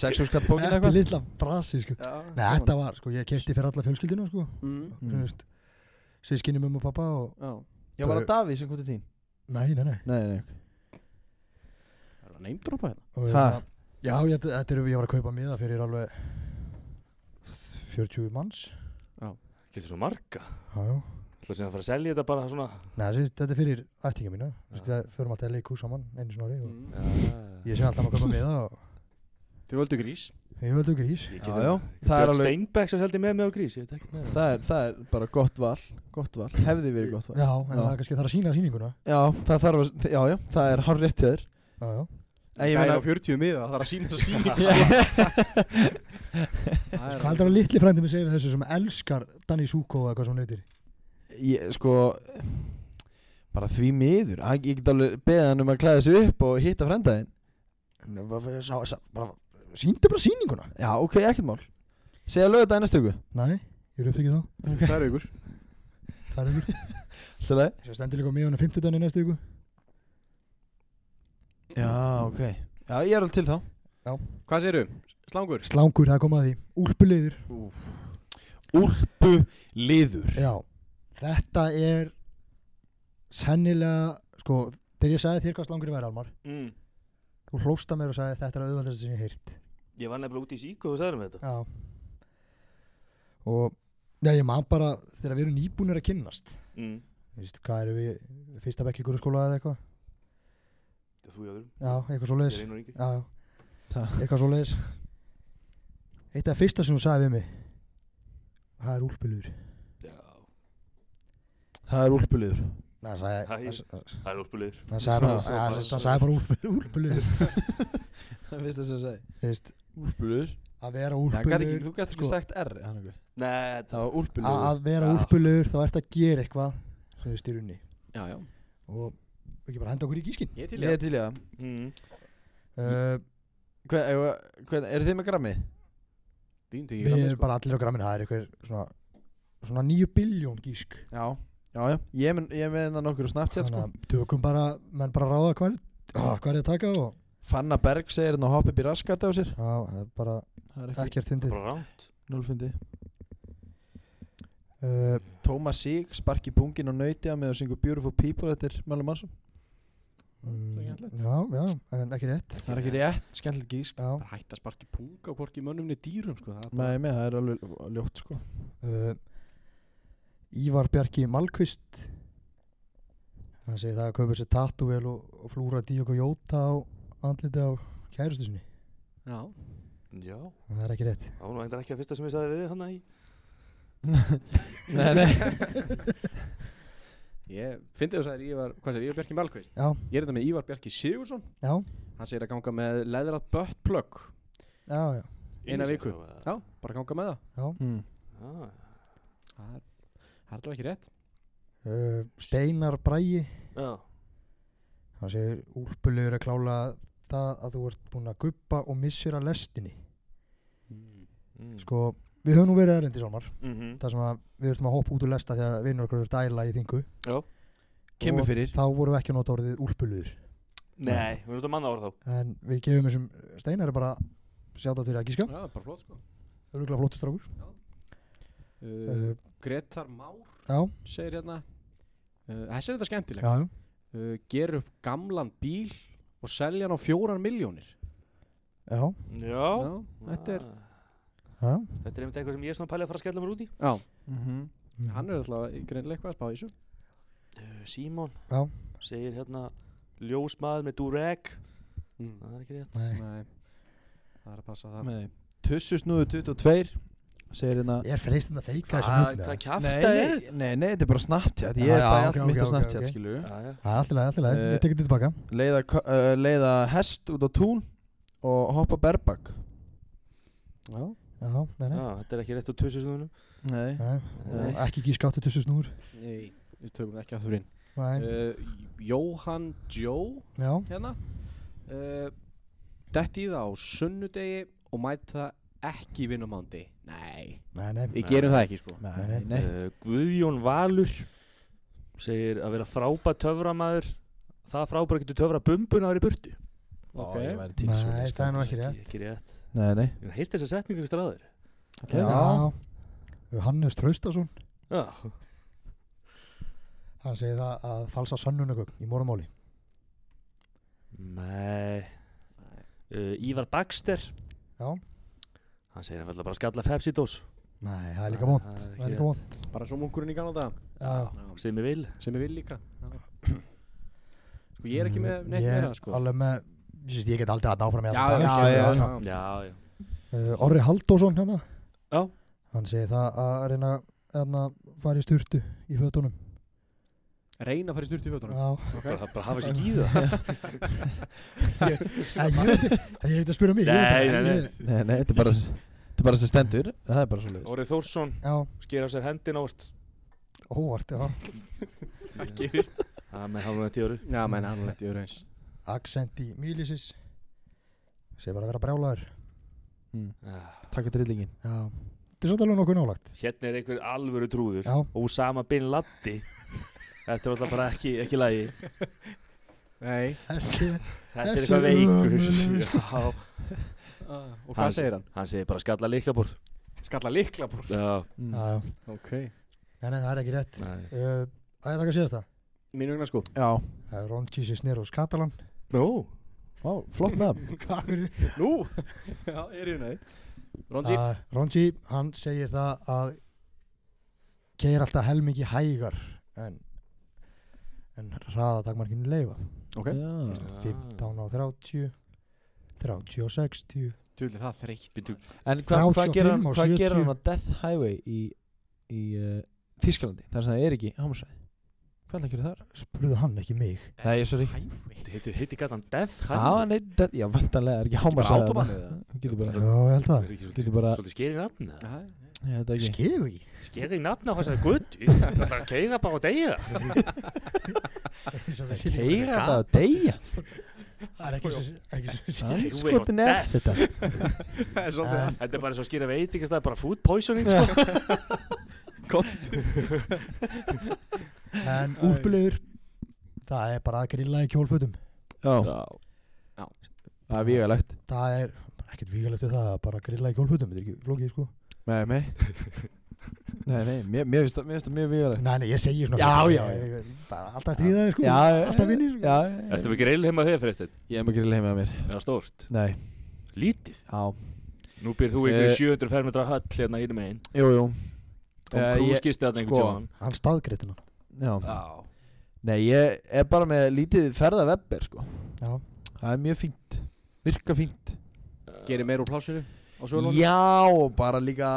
sexu skall bókin
þetta er
eitthvað
litla brasi sko
Já,
Nei, þetta var, sko, ég kefti fyrir alla fjölskyldina sko
mm.
Mm.
Þú veist Sískinni mömmu og pappa og
Já,
Já, var það Davíð sem kom til þín?
Nei, nei, nei
Nei, nei,
það var neymdrópa hérna
og
Ha?
það, Já, ég, þetta er, ég var að kaupa miða fyrir alveg 40 manns
getur svo marga
Já, já
Það sem að fara að selja þetta bara svona
Nei, þessi, þetta er fyrir ættinga mína Þú veist, Við förum alltaf að leika úr saman einu sinni á ári og
mm.
Ég sé alltaf að köpa með það og
Þau völdu grís
ég völdu grís
Ég
Já,
get-
já, það er
Björn
alveg
Steinbeck sem seldi með mig á grís Ég tek ekki með það
Það er, það er bara gott val, gott val, hefði verið gott val
Já, en það er kannski þarf að sína sýninguna
Já, það þarf að, já, já, það er hár rétt hjá þér
Já, já
En ég meina,
40 miða, það er að sína þess
sko.
að sína
Hvað Sko, heldur að litli frændi mér segja við þessu sem elskar Danny Suko eða hvað sem hún heitir
ég, sko bara því miður Hann- ég get alveg beðið hann um að klæða sig upp og hitta frendaðinn
Sýndu bara sýninguna
já ok, ekkert mál segja lögðu þetta næstu stöku
Nei, ég er upptekið þá
Það er ykkur
Það er ykkur
Sjölega.
Ég stendur líka á miðunum 50 dæni næstu ykkur
já ok já ég er alveg til þá
Hvað segirðu? Slangur?
Slángur, það er komað að því Úlpuleiður
úlpu liður
Já, þetta er sennilega, sko, þegar ég sagði þér hvað slángur væri Almar
mm.
Þú hlósta mér og sagði þetta er að auðvaldast sem ég hef heyrt
Ég var nefnilega út í síku og sagði með þetta
Já Og Já, ég man bara þegar við erum nýbúnir að kynnast
mm.
Þú veist, hvað erum við Fyrsta bekk í grunnskóla eða eitthvað
Þú jáður
Já, eitthvað svo
Ég
leiðis
er
Já,
einu og yngri
já
Ta-
Eitthvað svo leiðis Eitt af það fyrsta sem hún sagði við mig Það er úlpulur
Já,
það er úlpu liður
Nei, það sagði
Hæ.
hann s-
það er úrpulir
Hann sagði bara-
Svo-
svo
hann
bara-
s- hann sagði bara úlpulur
það finnst þess að segja
Þú veist,
úlpu liður
að vera
þú
úlpulur
gæst ekki
sko.
sagt r hann einhver.
Nei, þetta
það var úlpu
Að
liður
að vera
Já.
úlpulur þá ert að gera eitthvað sem við styrunni
Já, já,
og ekki bara henda okkur í gískin
ég er til
ég
ég
er til ég að
mm.
uh,
Hver- eigum við- hvern- eru þið með grammi
Við erum
Við
til
sko.
erum bara allir á gramminu, það er eitthvað svona, svona 9 biljón gísk
já já já ég er með- ég er með hennar nokkur á Snapchat
Þannig
sko
að tökum bara, menn bara ráða hvað er, ah, hvað er að taka og
Fanna Berg segir hennar hopp upp í raskat á sér
já, það er bara
það er ekki
ekkert fyndið
bara rámt
nullfundi
uh,
Tómas Sig, sparki pungin og nauti að með að syngu Beautiful People þetta er Mælum Mansson
mm,
skemmtilegt.
Já, já, en ekki rétt
það er ekki rétt, skemmtilegt gísk
Já,
Bara hætt að sparki punga hvorki mönnumni dýrum sko Það er bara
Nei, með, það er alveg ljótt sko
uh, Ívar Bjarki Malkvist hann segir það að kaupa sér tatúvel og, og flúra díok og jóta á andliti á kærustu sinni
Já,
Já,
En það er ekki rétt
það var nú eitthvað ekki að fyrsta sem ég sagði við þannig í
Nei, nei,
ég fyndi þess að Ívar, hvað segir Ívar Bjarki Malkvist?
Já,
Ég er þetta með Ívar Bjarki Sigursson
já,
Hann segir að ganga með leðrat böttplögg
já, já,
Eina viku.
Já,
Já, bara ganga með það
já.
mm.
Það er, það er alveg ekki rétt
Uh, Steinar Bræi
já
hann segir úlpulegur að klála það að þú ert búinn að guppa og missir að lestinni
Mm.
sko, við höfum nú verið erindi Salmar
Mhm.
það sem að við ertum að hoppa út úr lesta því að vinnur okkur eru dæla í þingu
Já.
Kemur
Og
fyrir.
þá vorum við ekki að nota orðið úlpulegur
Nei, við erum þetta manna orð þá
en við gefum þessum steinar bara sjátt á til að gíska
Já, bara flott sko
öruglega flottistrákur
uh,
Eh,
uh,
Gretar Már
já,
segir hérna uh, Þessi er þetta skemmtileg
já, já,
uh, Ger upp gamlan bíl og selja hann á fjórar miljónir
já
Já,
Já, þetta er
Ah.
Já,
Þetta er einmitt eitthvað sem ég er svona pælið að fara að skella mér út í
Já,
-hmm.
hann er alltaf greinlega eitthvað að spá í þessu
uh, Simon
Já.
segir hérna ljósmaður með dureg
mm.
Það er ekki rétt
Nei.
Nei, það er að passa það
Nei, Tussusnúðu 22 segir hérna
Ég er freistinn að feika þessum
Hvað-
hugna
Hvað
Það
kjafta
Nei,
Ah, er?
nei, nei, nei, þetta er bara Snapchat Ég
Já,
er
já,
það
ok,
allt
ok,
mitt á
ok,
Snapchat, okay,
ok.
skilu
Já, já.
er alltaf leið, alltaf leið,
Eh,
ég tekur þetta tilbaka
leiða, kö- uh, leiða hest út á tún og hoppa berbak
Já,
Já, nei,
Já,
nei,
þetta er ekki rétt úr tvisisugunum
Nei
nei.
Ah. Nei.
Ekki gísk áttu tussu snúr
nei, við tökum það ekki að þurrin
Nei,
uh, Jóhann Jó
já,
hérna uh, Detti í það á sunnudegi og mæta ekki vinna á mándi Nei,
nei, nei
við gerum það ekki sko
Nei, nei
uh, Guðjón Valur segir að vera frábæð töframaður það frábæð getur töfra bumbuna að vera í burtu
Ó,
ok.
ég væri til í svo
Nei,
leik,
það
sko.
er nú ekki rétt
Ekki rétt
Nei, nei
Ég heilt þessa setningu eitthvað stráður
Já.
Já Hannes Traustason
Já,
Hann segir það að falsa sannunagögn í morgumáli
Nei uh, Ívar Baxter
Já
Hann segir að verða bara að skalla Pepsi dós
Nei, það er líka
Nei,
vond
Ah, það er ekki
Það er líka vond
Bara svo munkurinn í ganada
Já
sem ég vil
Sem ég vil líka Já. Sko ég er ekki með neitt
Mm, Ég er
meira sko
Alveg með Ég syns ég get aldrei að náfram í
Já,
allan dag,
já,
skilur
já,
við.
já.
Já, já
Uh, Orri Haldósson hérna
Já.
Hann segir það að reyna hérna, að fara í styrtu í fötunum
Reina að fara í styrtu í fjötunum
Já
bara, bara hafa sér í það
Nei, ég veit ekki, ég er ekkert að spyrja um mig ég veit
Nei,
ekki,
nei, nei.
ég-
Nei, nei, þetta er bara Þetta er bara sem stendur Það er bara svo leiðis
Orri Þórsson
Já,
skera sér hendin ávart
óvart, já
Það gerist Það með hálfum þetta í orðu
Já, menn hann lett í öru eins
Accent í Mílisis Segir bara að vera brjálaður
Takk að drillingin
Já, þetta er svolítið alveg nokkuð nálagt
Hérna er einhver alvöru trúður
Já,
Ósama Bin Latti Þetta er alltaf bara ekki, ekki lægi
Nei
þessi
Þessi er
Þessi
eitthvað
er ömurlegur,
veikur Já.
Ah, Og
Hann-
hvað segir hann?
Hann segir bara skalla líklaborð
Skalla líkla búr
Já,
Já, já,
Ok
nei, nei, það er ekki rétt
nei
uh, Það er takk að síðast það
Mínu vegna sko
Já,
Það er Ron Jesus Neros Catalan
Nú,
Ó, flott nafn
Nú Já, ég er í næði Ronji
Uh, Ronji, hann segir það að keir alltaf helmingi hægar en en hraðatakmarkinu leifa
Ok
Já.
15 á 30 30 á 60
Tjúli Ah. það þreytt
býtu
En hvað hva
35
gerir hann,
og
hva gerir
70?
hann á Death Highway í, í uh, Þískalandi þar sem það er ekki hámsæði Hvað er það að gera þar?
spurðu hann ekki mig
Nei, ég- sorry.
Hitti, hitti gætt hann Death
Já, nei, Death, já, vantanlega er ekki hámsæði Getur
Já,
bara,
ég held það
getur bara,
Svolítið skeri nafn það
Hæ?
ég veit það ekki
Skegvi
Skeri nafn á þessari gutt Það er að keira bara á degja
Keira það að deyja
Það er ekki sem ekki sem sé
Anskotin er sko þetta
Svolítið
sko-
Þetta er bara svo skýra veitingast Það er bara food poisoning sko.
en úrpulegur það er bara að grilla í kjólfötum
Já, það er vígalegt
það er bara ekkert vígalegt við það að bara grilla í kjólfötum þetta er ekki flókið sko
Nei, nei Nei, nei, mér, mér finnst það mér finnst það mjög vígalegt
nei, nei, ég segi svona
Já,
hluti.
já, já.
Ég- bara alltaf stríða þér sko
Já,
alltaf vinir, sko.
Já,
Ertu með grill heima þegar fyrirstinn?
ég hef maður grilla heima á mér
Eða stórt?
Nei,
Lítið
já,
Nú býr þú ykkur
Eh.
700 fermetra höll hérna hínum einn
jú, jú
Tom
Eh,
Cruise
ég-
gisti þarna
sko,
einhvern
hann staðgreitina
Já Nei, ég er bara með lítið ferðavebber, sko
já,
Það er mjög fínt Virka fínt
tíma
Gerir meir úr plásinu Á sögulónu
Já, og bara líka,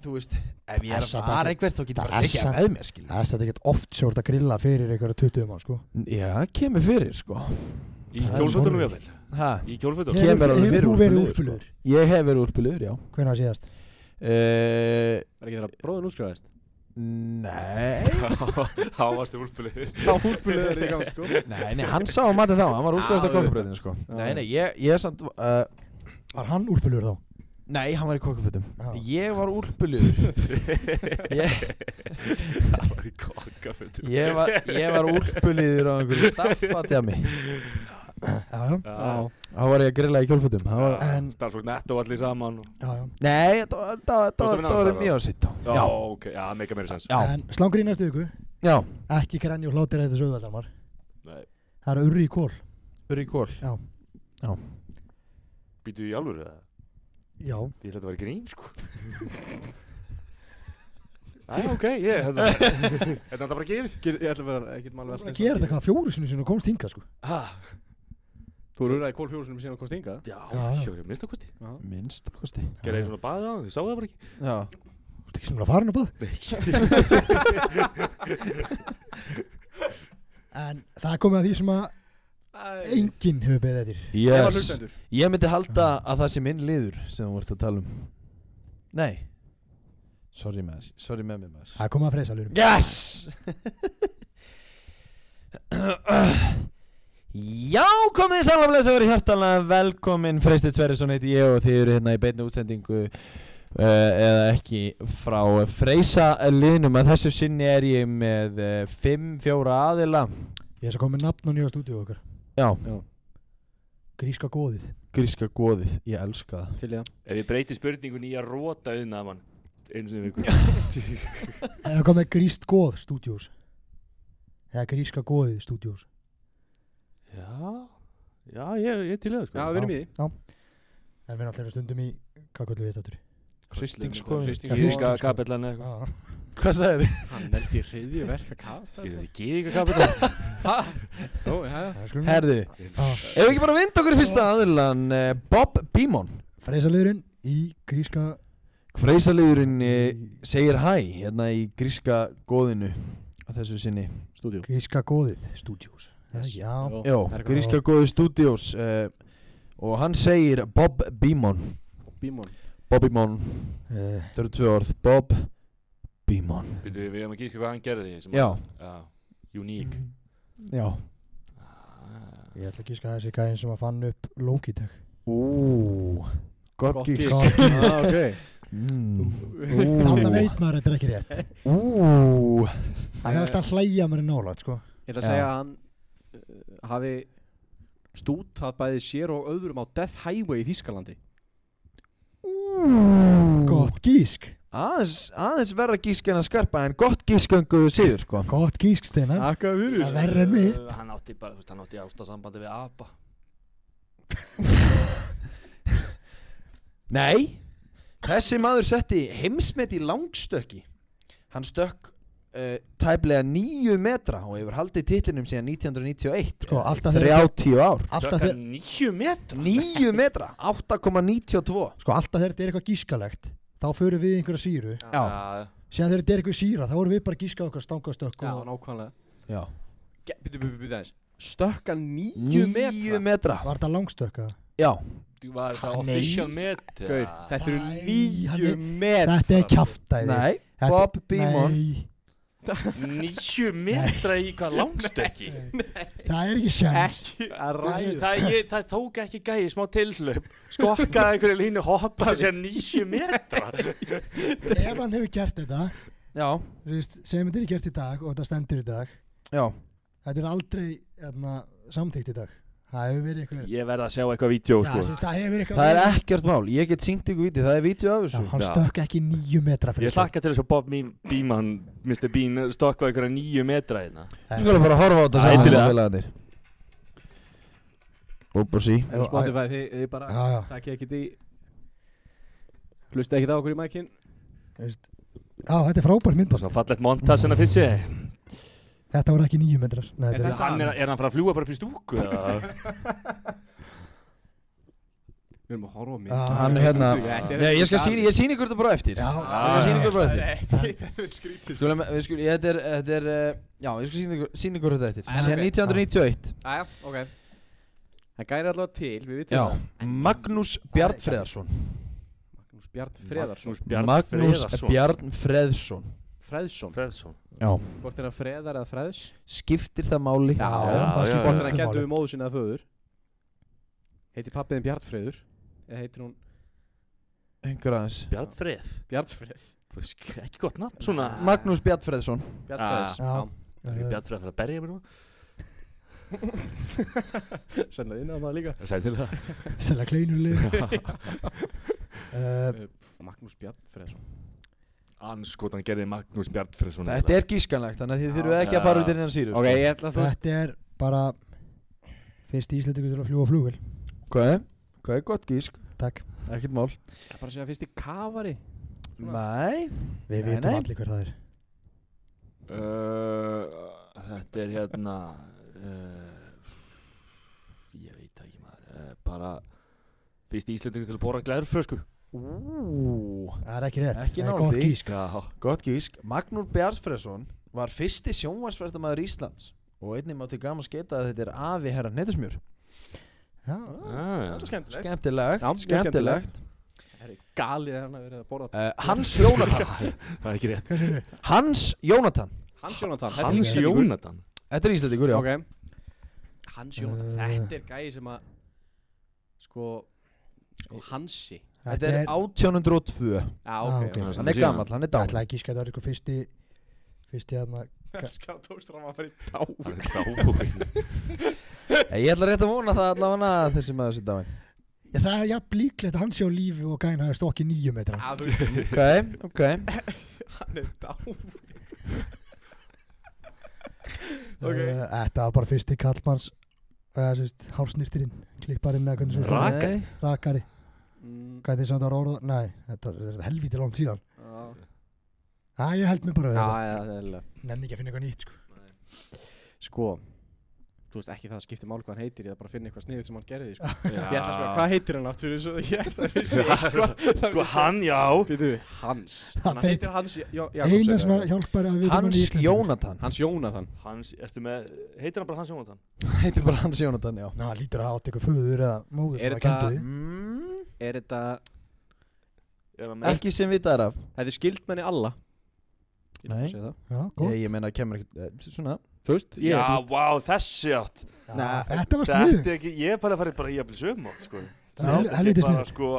þú veist Ef ég er að
Passa
fara
þetta-
eitthvert þá getur bara
passa-
ekki að með mér, skil
það er þetta ekkert oft sem þú ert að grilla fyrir einhverja 20 mann sko
Já, það kemur fyrir, sko
Í
Það er
kjólfötunum
sorglegt.
jáfnvel
ha.
Í kjólfötunum
Ég- Kemur alveg fyrir
hefur þú verið
úlpulegur, sko.
úrpulegur
Ég hef verið úrpilur, já
hvenær síðast
uh,
Er ekki þeirra bróðin útskrifaðist?
Nei
Há varstu úlpulegur
Já, útbúlega er í gang sko
Nei, nei, hann sá um matið þá, hann var úrskast
Já,
á kokkabröðinu, sko
Já.
Nei, nei, ég, ég samt uh,
var hann úrpulegur þá
Nei, hann var í kokkafötum
Já.
Ég var úrpilur ég,
Það var í kokkafötum
ég var, ég var úrpilur á einhverju staffatjami
já, já,
Já
Þá var ég að grilla í kjólfötum Það var
En-
Starfsfólk netto allir saman og-
já, já.
Nei, þetta var- þetta
Þú
var-
varst
þetta
að
var-
vinna
þetta var
annars
mjög sitt
Já, ok, já, það meika meira sens
Já.
en slangri í næstu viku
já
ekki grenni og hlátir þetta sögðaldalmar
Nei,
það er urri í kól
Uri Kól
býtu í alvöru það
já,
Ég ætla að þetta var grín sko Æ, ok, ég Þetta þetta er alltaf bara gefið
Get, ég ætla bara, ég get maður
að gera þetta hvað fjóru sinni sinni og komst hinga sko
Ha,
Þú eru ræði kól fjórusunum síðan að komst inga
já,
Já, já.
já, já, minnst kosti
Minnst kosti
Gerði ég svona baðið á hann, þið sáu það bara ekki
Já
Þú ert ekki sem að fara hann að bað En það er komið að því sem að enginn hefur beðið eftir
Ég var
yes.
hlustendur
Ég myndi halda að það sé minn liður sem þú ert að tala um Nei Sorry maður, sorry með mér maður
Það er komið að freysa ljórum
Yes Já, komið þið sannlega blessa að vera hjartalega velkomin Freistið Sverrisson heiti ég og þið eru hérna í beinni útsendingu uh, eða ekki frá Freysa liðnum að þessu sinni er ég með 5-4 aðila
Ég er svo komið með nafn og nýja stúdíu okkar
Já,
Gríska góðið
gríska góðið, ég elska það
Til ég
Ef ég breyti spurningun í að róta auðna af hann Einu sinni í viku
Það er komið gríst góð stúdíós Eða gríska góðið stúdíós
Já, já, ég, ég er til í það
Já,
sko
við erum í því
En við erum allir stundum í Hvað kvöldu við þetta
Hristingskoðun.
Gýðinga kapillan eða
aftur?
Hvað sagði þið?
Hann nefndi hriðju verka kaffa
eitthvað Ég veit ekki gýðinga kapillan
Ó, já
Það skulum
Herðu, ef við ekki bara vind okkur í fyrsta aðilan uh, Bob Beamon
Freysa ljórin í gríska
Freysaliðurinn eh, segir hæ hérna í gríska góðinu að þessu sinni
Stúdíu
Gríska góðið stúdíós Já
Já, gríska góði stúdíós uh, og hann segir Bob Beamon
Bímón
Bob Beamon,
eh,
þetta eru tvö orð Bob Beamon
Við við erum að gíska hvað hann gerði sem
Já,
að- Já, Unique
já
Ah.
Ég ætla að gíska að þessi gæðin sem að fann upp Logitech
Ú, gott
Gott
gísk
gísk. Já, Ah, ok
Mm.
Þannig
Ú,
veit maður að þetta er ekki rétt
Ú
Það er alltaf að hlæja mér nála sko.
Ég ætla að
Já.
segja að hann uh, hafi stútað bæði sér og öðrum á Death Highway í Þýskalandi
Gott gísk
Aðeins, aðeins verra gísk en að skarpa en gott gísk en guðu síður sko
Gott gísk Steinar
Akka fyrir
Það er verra en mitt.
Uh, Hann átti bara, þú veist, hann átti ástasambandi við apa
Nei, þessi maður setti heimsmet í langstökki. Hann stökk uh, tæplega níu metra og hefur haldið titlinum síðan 1991.
Sko,
eh,
alltaf
30 ár.
Alltaf þegar
nýju metra
Níu metra, 8,92.
sko, alltaf þegar þetta er eitthvað gískalegt Þá förum við í einhverja síru
Já.
Síðan þegar þetta er eitthvað síra Þá vorum við bara að gíska okkur stangastökk
Já,
og...
nákvæmlega
Já.
Ge- Bítu, bítu, bítu aðeins Stökka níu
Níu metra.
metra
Var þetta langstökka?
Já.
Þú var
Ha,
þetta
nei.
official met
Gaur,
eða?
þetta eru
Æ, hann
níu
er-
metra
Þetta er kjaftæði
Nei,
Þetta-
Bob Beamon.
Nei,
Níu metra í hvað langstökki
það er ekki sjans
Ekki að
Það,
ræða
það, ég, það tók ekki gæði smá tilhlaup skokkaði einhverju línu hoppaði sér níu metra
Ef hann hefur gert þetta
Já.
þú veist, Sem þetta er gert í dag og þetta stendur í dag
Já.
Þetta er aldrei hérna, samþykkt í dag Það hefur verið eitthvað
Ég verð að sjá eitthvað vídeo
Já, sem
sko.
sagt, það hefur verið eitthvað
Það er
verið-
ekkert mál. Ég get sínt ykkur vítið. Það er vítið af
Já,
þessu.
hann
Já.
stökk ekki nýju metra fyrir
Ég hlakka til þess að Bob Mím- Beeman Mr. Bean stokkaði einhverja níu metra hérna.
Eh,
Við skulum bara horfa á þetta saman
Ætilega.
og félagarnir. Búb og sí.
Ef þú spotið fæði þið, þið bara
Já, já.
Takk ekki því Hlusta ekki það okkur í mækin
Já, þetta er frábært
og
myndband
svona fallegt montas hérna fyrst ég
Þetta voru ekki nýju metrar Nei,
Er
þetta
þetta-
er,
hann er, er hann frá að fljúa bara upp í stúku eða?
Við erum að horfa á mig
Já,
Hann hérna. Nei, ég skal síni, ég síni ykkur þetta bara á eftir.
já, hérna-
Ég skal
já,
sína
já,
ykkur bara eftir
Þetta er skrítið sko.
Skulum, við skulum, ég- þetta er, þetta er, eh, já, ég skal sína ykkur, sína ykkur þetta eftir
Ah, ok.
Síðan
Ah.
1991
Æja, ok Það gæri allavega til, við vitum
Já,
það
Magnús Bjarnfreðarsson
Magnús Bjart Freðarsson
Bjarn
Magnús
Freðarsson.
Bjarnfreðsson
Freðsson,
Freðsson
Já
hvort er hann Freðar eða Freðs
Skiptir það máli?
já,
Já,
það
já,
skiptir
hvort er hann
öllu
gætu
máli.
við móðu sinna að föður heitir pappiðin Bjart Freður eða heitir hún
Einhver aðeins
Bjarn Freð
Bjart Freð
ekki gott nafn svona
Magnús Bjarnfreðsson
Bjart
Ah.
Freðs,
Já. Eh,
já,
Já,
Bjarn Freð fyrir að berja mér nú
sennilega inn á maður líka
sænilega
Selja kleinuleg uh,
Magnús Bjart Freðsson
anskotan gerði Magnús Bjarn Freð svona
Þetta er gískanlegt, þannig að þið þurfum ekki að fara út í hennan síru sko.
Ok, ég ætla að þú
Þetta er bara Fyrst íslendingur til að fljúa flugvel
Hvað er? Hvað er gott gísk?
takk
ekkert mál
Það er bara að segja fyrst í kafari
Nei
Við
Nei,
vitum
nei.
allir hver það er
Uh, þetta er hérna uh, Ég veit það ekki maður uh, Bara Fyrst íslendingur til að bóra glærfrösku
Ú,
Það er ekki rétt
Ekki
Það er
nálægt
gott
því.
gísk
Já
Gott gísk Magnúr Bjarnsfresson var fyrsti sjónvarsverðamæður Íslands og einnig má til gaman skeita að þetta er afi herra Neytusmjör
Já,
ah,
Þetta er skemmtilegt
Skemmtilegt
Já, mjög
Skemmtilegt
Það er galið að hann að vera að borða
uh, Hans Jónatan
Það er ekki rétt
Hans Jónatan
Hans Jónatan þetta er
Hans
Íslendingur.
Jónatan
Þetta er Íslandingur, já
Ok. Hans Jónatan,
Uh.
þetta er gæði sem að sko, sko Hansi
Þetta er 1802
Já,
Ah,
ok,
ok.
ok
Hann er gamall, hann er
Ég
dál
ætlaði að gíska að það er eitthvað fyrsti Fyrsti hérna
Elskar að tókst fram að það er í dá
Dáin
Ég ætla rétt að vona það allavega að þessi maður sér dáin
Já, það er jafn líklegt að hann sé á lífi og gæna hafi stokki nýju metra
Já, þú veist,
Ok, ok
hann er dá
okay. Eh, Þetta var bara fyrsti kallmanns uh, sérst, Hársnýrtirinn, klipparinn eða hvernig sem
Rak-
það
Rakari.
Nei.
er. Rakari,
mm,
hvernig sem þetta var orða Nei, þetta er- þetta er helvítið langt síðan
Já,
Æ, ég held mér bara við
já,
þetta
já, það er alveg
Nenni ekki að finna eitthvað nýtt sko.
Sko Þú veist ekki það að skipta máli hvað hann heitir Ég það bara að finna eitthvað sniðið sem hann gerði sko.
Já.
Ég ætla að spila, hvað heitir hann aftur Svo ég ætla að vissi eitthvað það
Sko
vissi-
hann já
Býtu, Hans
Hann
Hann
veit-
heitir Hans Já- Jakobsen,
Eina sem
eða
að hjálpar að við
Hans Jónatan
Hans Jónatan
Hans Ertu með Heitir hann bara Hans Jónatan
Heitir bara Hans Jónatan, já
Ná, lítur að átt eitthvað föður eða móður
Er
sem að
þetta-
kenndi því.
mm,
Er þetta
Er hann með
Ekki sem vitað er af
Þetta er skildmenni alla Ég ætla
Nei.
að segja það.
Já,
Ég,
gott
ég meina, kemur ekkert eh, Svona
Þú veist ég,
Já
þú veist,
vá þessi átt
Já,
Nei,
Þetta var
Þetta
sniðugt
er ekki Ég er bara að fara bara í að bli söm átt sko
Það er hel-
Þetta
helviti
sé bara,
sniðugt.
sko,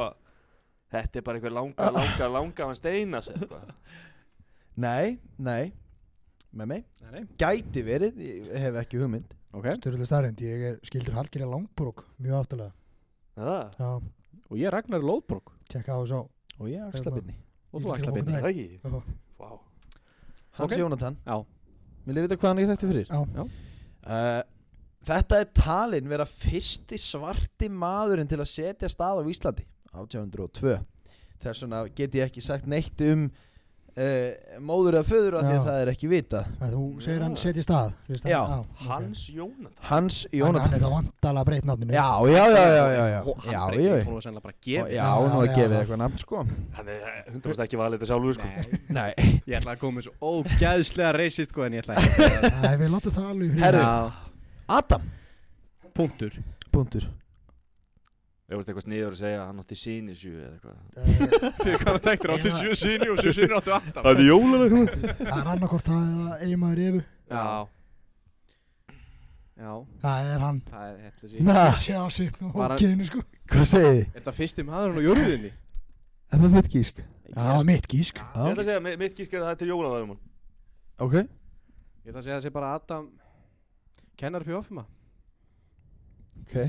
Þetta er bara einhver langa, langa, langa Hann steinas eitthvað
Nei, nei Með mig
Nei, nei.
Gæti verið, ég hef ekki hugmynd
Ok
Störðulega starrend, ég er skildur halgerja langbrók Mjög aftalega
Það
Já,
Og ég er Ragnar Lóðbrók
tjekka á þessu á
Og ég axla byrni
Og þú
Ég ætla
axla
að
byrni
koma
Er það ekki?
Já.
Vá
Hans
Ok.
Jónatan
Já
Vil ég vita hvað hann er þekktu fyrir?
Já.
Já.
Eh, þetta er talin vera fyrsti svarti maðurinn til að setja stað á Íslandi 1802 Þess vegna get ég ekki sagt neitt um uh, móður eða föður af því
Já.
að það er ekki vitað
Að Þú segir hann
Já.
setja í stað segist hann-
Já,
ok.
Hans Jónatan
Hans
Hann hann
Jónatan
er það vandalega breytt
Já,
nafninu
já, já, já, já, já,
Og hann
já,
er
já,
ekki
já.
Hún var sennilega bara að
Já,
gefa
já, nú að
Já,
gefa
já.
eitthvað nafn sko
Hann er 100% ekki valið þetta sjálfur sko
Nei
Nei,
Ég ætla að koma með svo ógæðslega reisist sko en ég ætla ekki að segja
Æ, við látum það alveg í friði.
Herru.
það.
Adam
Já, Punktur
Puntur
Ég voru eitthvað sniður að segja að hann átti sínisju eða eitthvað
Eh,
Fyrir hvað það þekktir átti
Já.
sjö sinni og sjö sinni átti aftan
er jólalega
Það er annarkort það eða eiginmaður Efu
Já
Já,
Það er hann
það er hættið sér
Na,
Sé á sig
Var hann-
Hókiðinu sko
hvað segið þið?
Er það fyrsti maðurinn á jörðinni?
Er það þitt gísk?
Það var mitt gísk
Ég ætla að segja, mi- mitt gísk er að það er til jólalega um hann
Ok
Ég ætla að segja að það sé bara Adam Kennar pjófima
Ok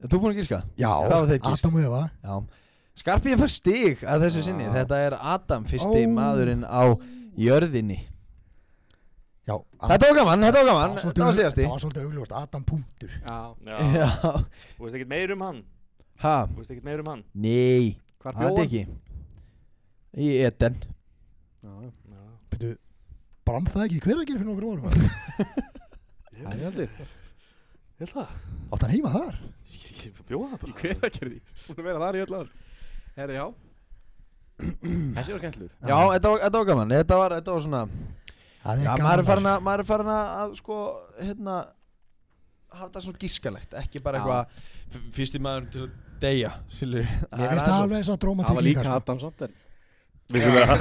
Er þú búinn að gíska?
Já
Hvað var þitt gísk?
Adam og Eva
Já Skarpið fær stig að þessu sinni
Ah.
Þetta er Adam, fyrsti
Ó.
maðurinn á jörðinni
Já
Þetta var gaman, þetta var
Það
gaman
var
Þetta
svolítið-
var síðasti
Það var svolítið augljóst Adam punktur
Já
Já
Já
Þú veist ekkert meir um hann
Ha?
Þú veist ekkert meir um hann
Nei
Hvar
Það er
bjóðan?
ekki Í Eden
Já,
Býtu Brann það ekki hver að gera fyrir nokkur árum
það er aldrei
Ég held það
Átt hann heima þar
Ég get ekki bjóða það
Í
bara
hveragerði Búin að vera þar í öll ár Herri, já Þessi var skemmtlur
Ah.
Já, þetta var, þetta var gaman Þetta var, þetta var svona
Það
Já,
er
maður er farin
gaman
að, maður er farin að, að sko, hérna hafa þetta svona gískalegt, ekki bara
Já.
eitthvað f- fyrsti maður til að deyja, skilur
Mér finnst það alveg þess að dróma
Það var líka Adam samt en
Vissulega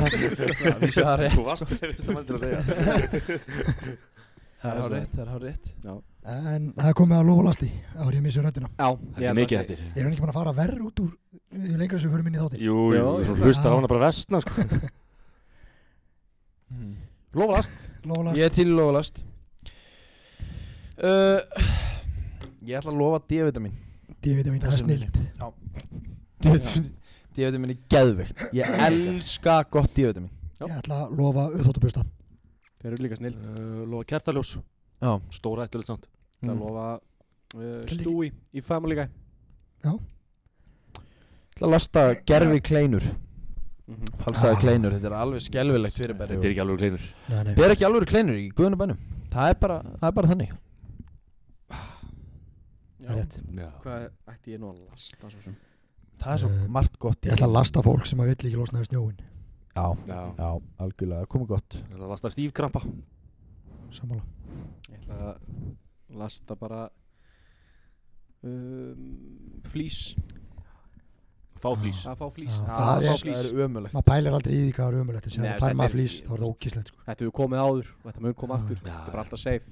Vissu það
Þú
er rétt,
varst með vistamann til að segja
það er hár rétt, það er hár rétt
En það er komið að lofa lasti Árið ég missi röddina
Já,
Það er mikið eftir
Ég er hann ekki búin að fara verð út úr Því lengra sem við förum inn í þáttinn
Jú,
Já,
jú,
ég
þú
held
hlustar á
það.
hana bara vestna sko
Lofast
Lofa
Mm.
lasti
Ég er til í lofalast uh, Ég ætla að lofa D-vitamin
D-vitamin, það er
Þessu minni.
snilt
D-vitamin er geðveikt Ég elska gott D-vitamin
Já.
Ég ætla að lofa auðváttubusta
Þeir eru líka snill
Uh, Lofa kertaljós
Já
Stóra ættilegt samt
Það
Mm.
lofa uh, Stúi í Family Guy
Já.
ætla að lasta gerfi kleinur
Mhm.
falsaði
Ah.
kleinur, þetta er alveg skelvilegt fyrirbæri
Þetta er ekki alveg kleinur
Nei, nei.
Þetta er ekki alveg kleinur í guðunabænum það er bara, það er bara þannig
Það er rétt.
Já.
Hvað ætti ég nú að lasta svo sem?
það er svo
Eh,
margt gott í-
Ég ætla að lasta fólk sem að vill ekki losna við snjóin
já,
Já.
já, algjörlega, það komið gott
Það lasta stífkrampa
Sammála
Ég ætla að lasta bara um, flýs
Fáflís
að fá flýs
Já,
Að
það
fá
er-
flís.
er ömulegt
Maður pælir aldrei í því hvað er umulegt
Nei,
Það
þetta
fær
er-
maður flýs, þá er það ókíslegt sko.
Þetta hefur komið áður og þetta mun koma
Ah, Já.
Já.
aftur Þetta er bara alltaf safe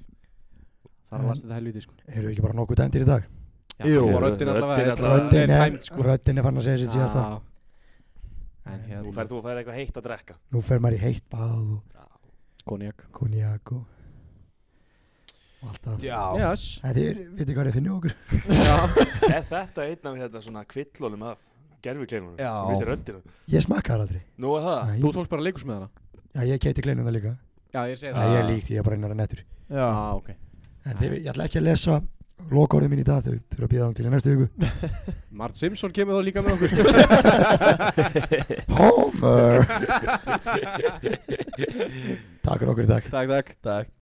Það er að lasta þetta helviti sko
Eru ekki bara nokkuð dæmdir í dag?
Já,
Jú.
og röddin allavega
Röddin
þetta er
Röddin er,
tæmd, sko. Ah.
röddin er fann að segja sitt síðasta
Já. En
Nú
hérna
færð þú að færa eitthvað heitt að drekka
Nú fer maður í heitt báð og
Konjak
konjak og og allt það
já,
Yes
Þetta er, veitir hvað er finnum okkur?
Er þetta einn af hérna svona kvillunum af gerfi kleinunum?
Já.
Þú veist þér röddina
Ég smakkaði aldrei
Nú er það
Nei.
Þú tókst bara leikus með hana
Já, ég keiti kleinuna líka
Já, ég segi
Já,
það
ég er líkt, ég er bara einar en nettur
já.
Já, ok
En þið, ég ætla ekki að lesa lokaorðin mín í dag Þau þurfa að bíða þá til í næstu viku
Mart Simpson kemur þá líka með okkur
Homer Takk fyrir okkur í dag
Takk, takk
takk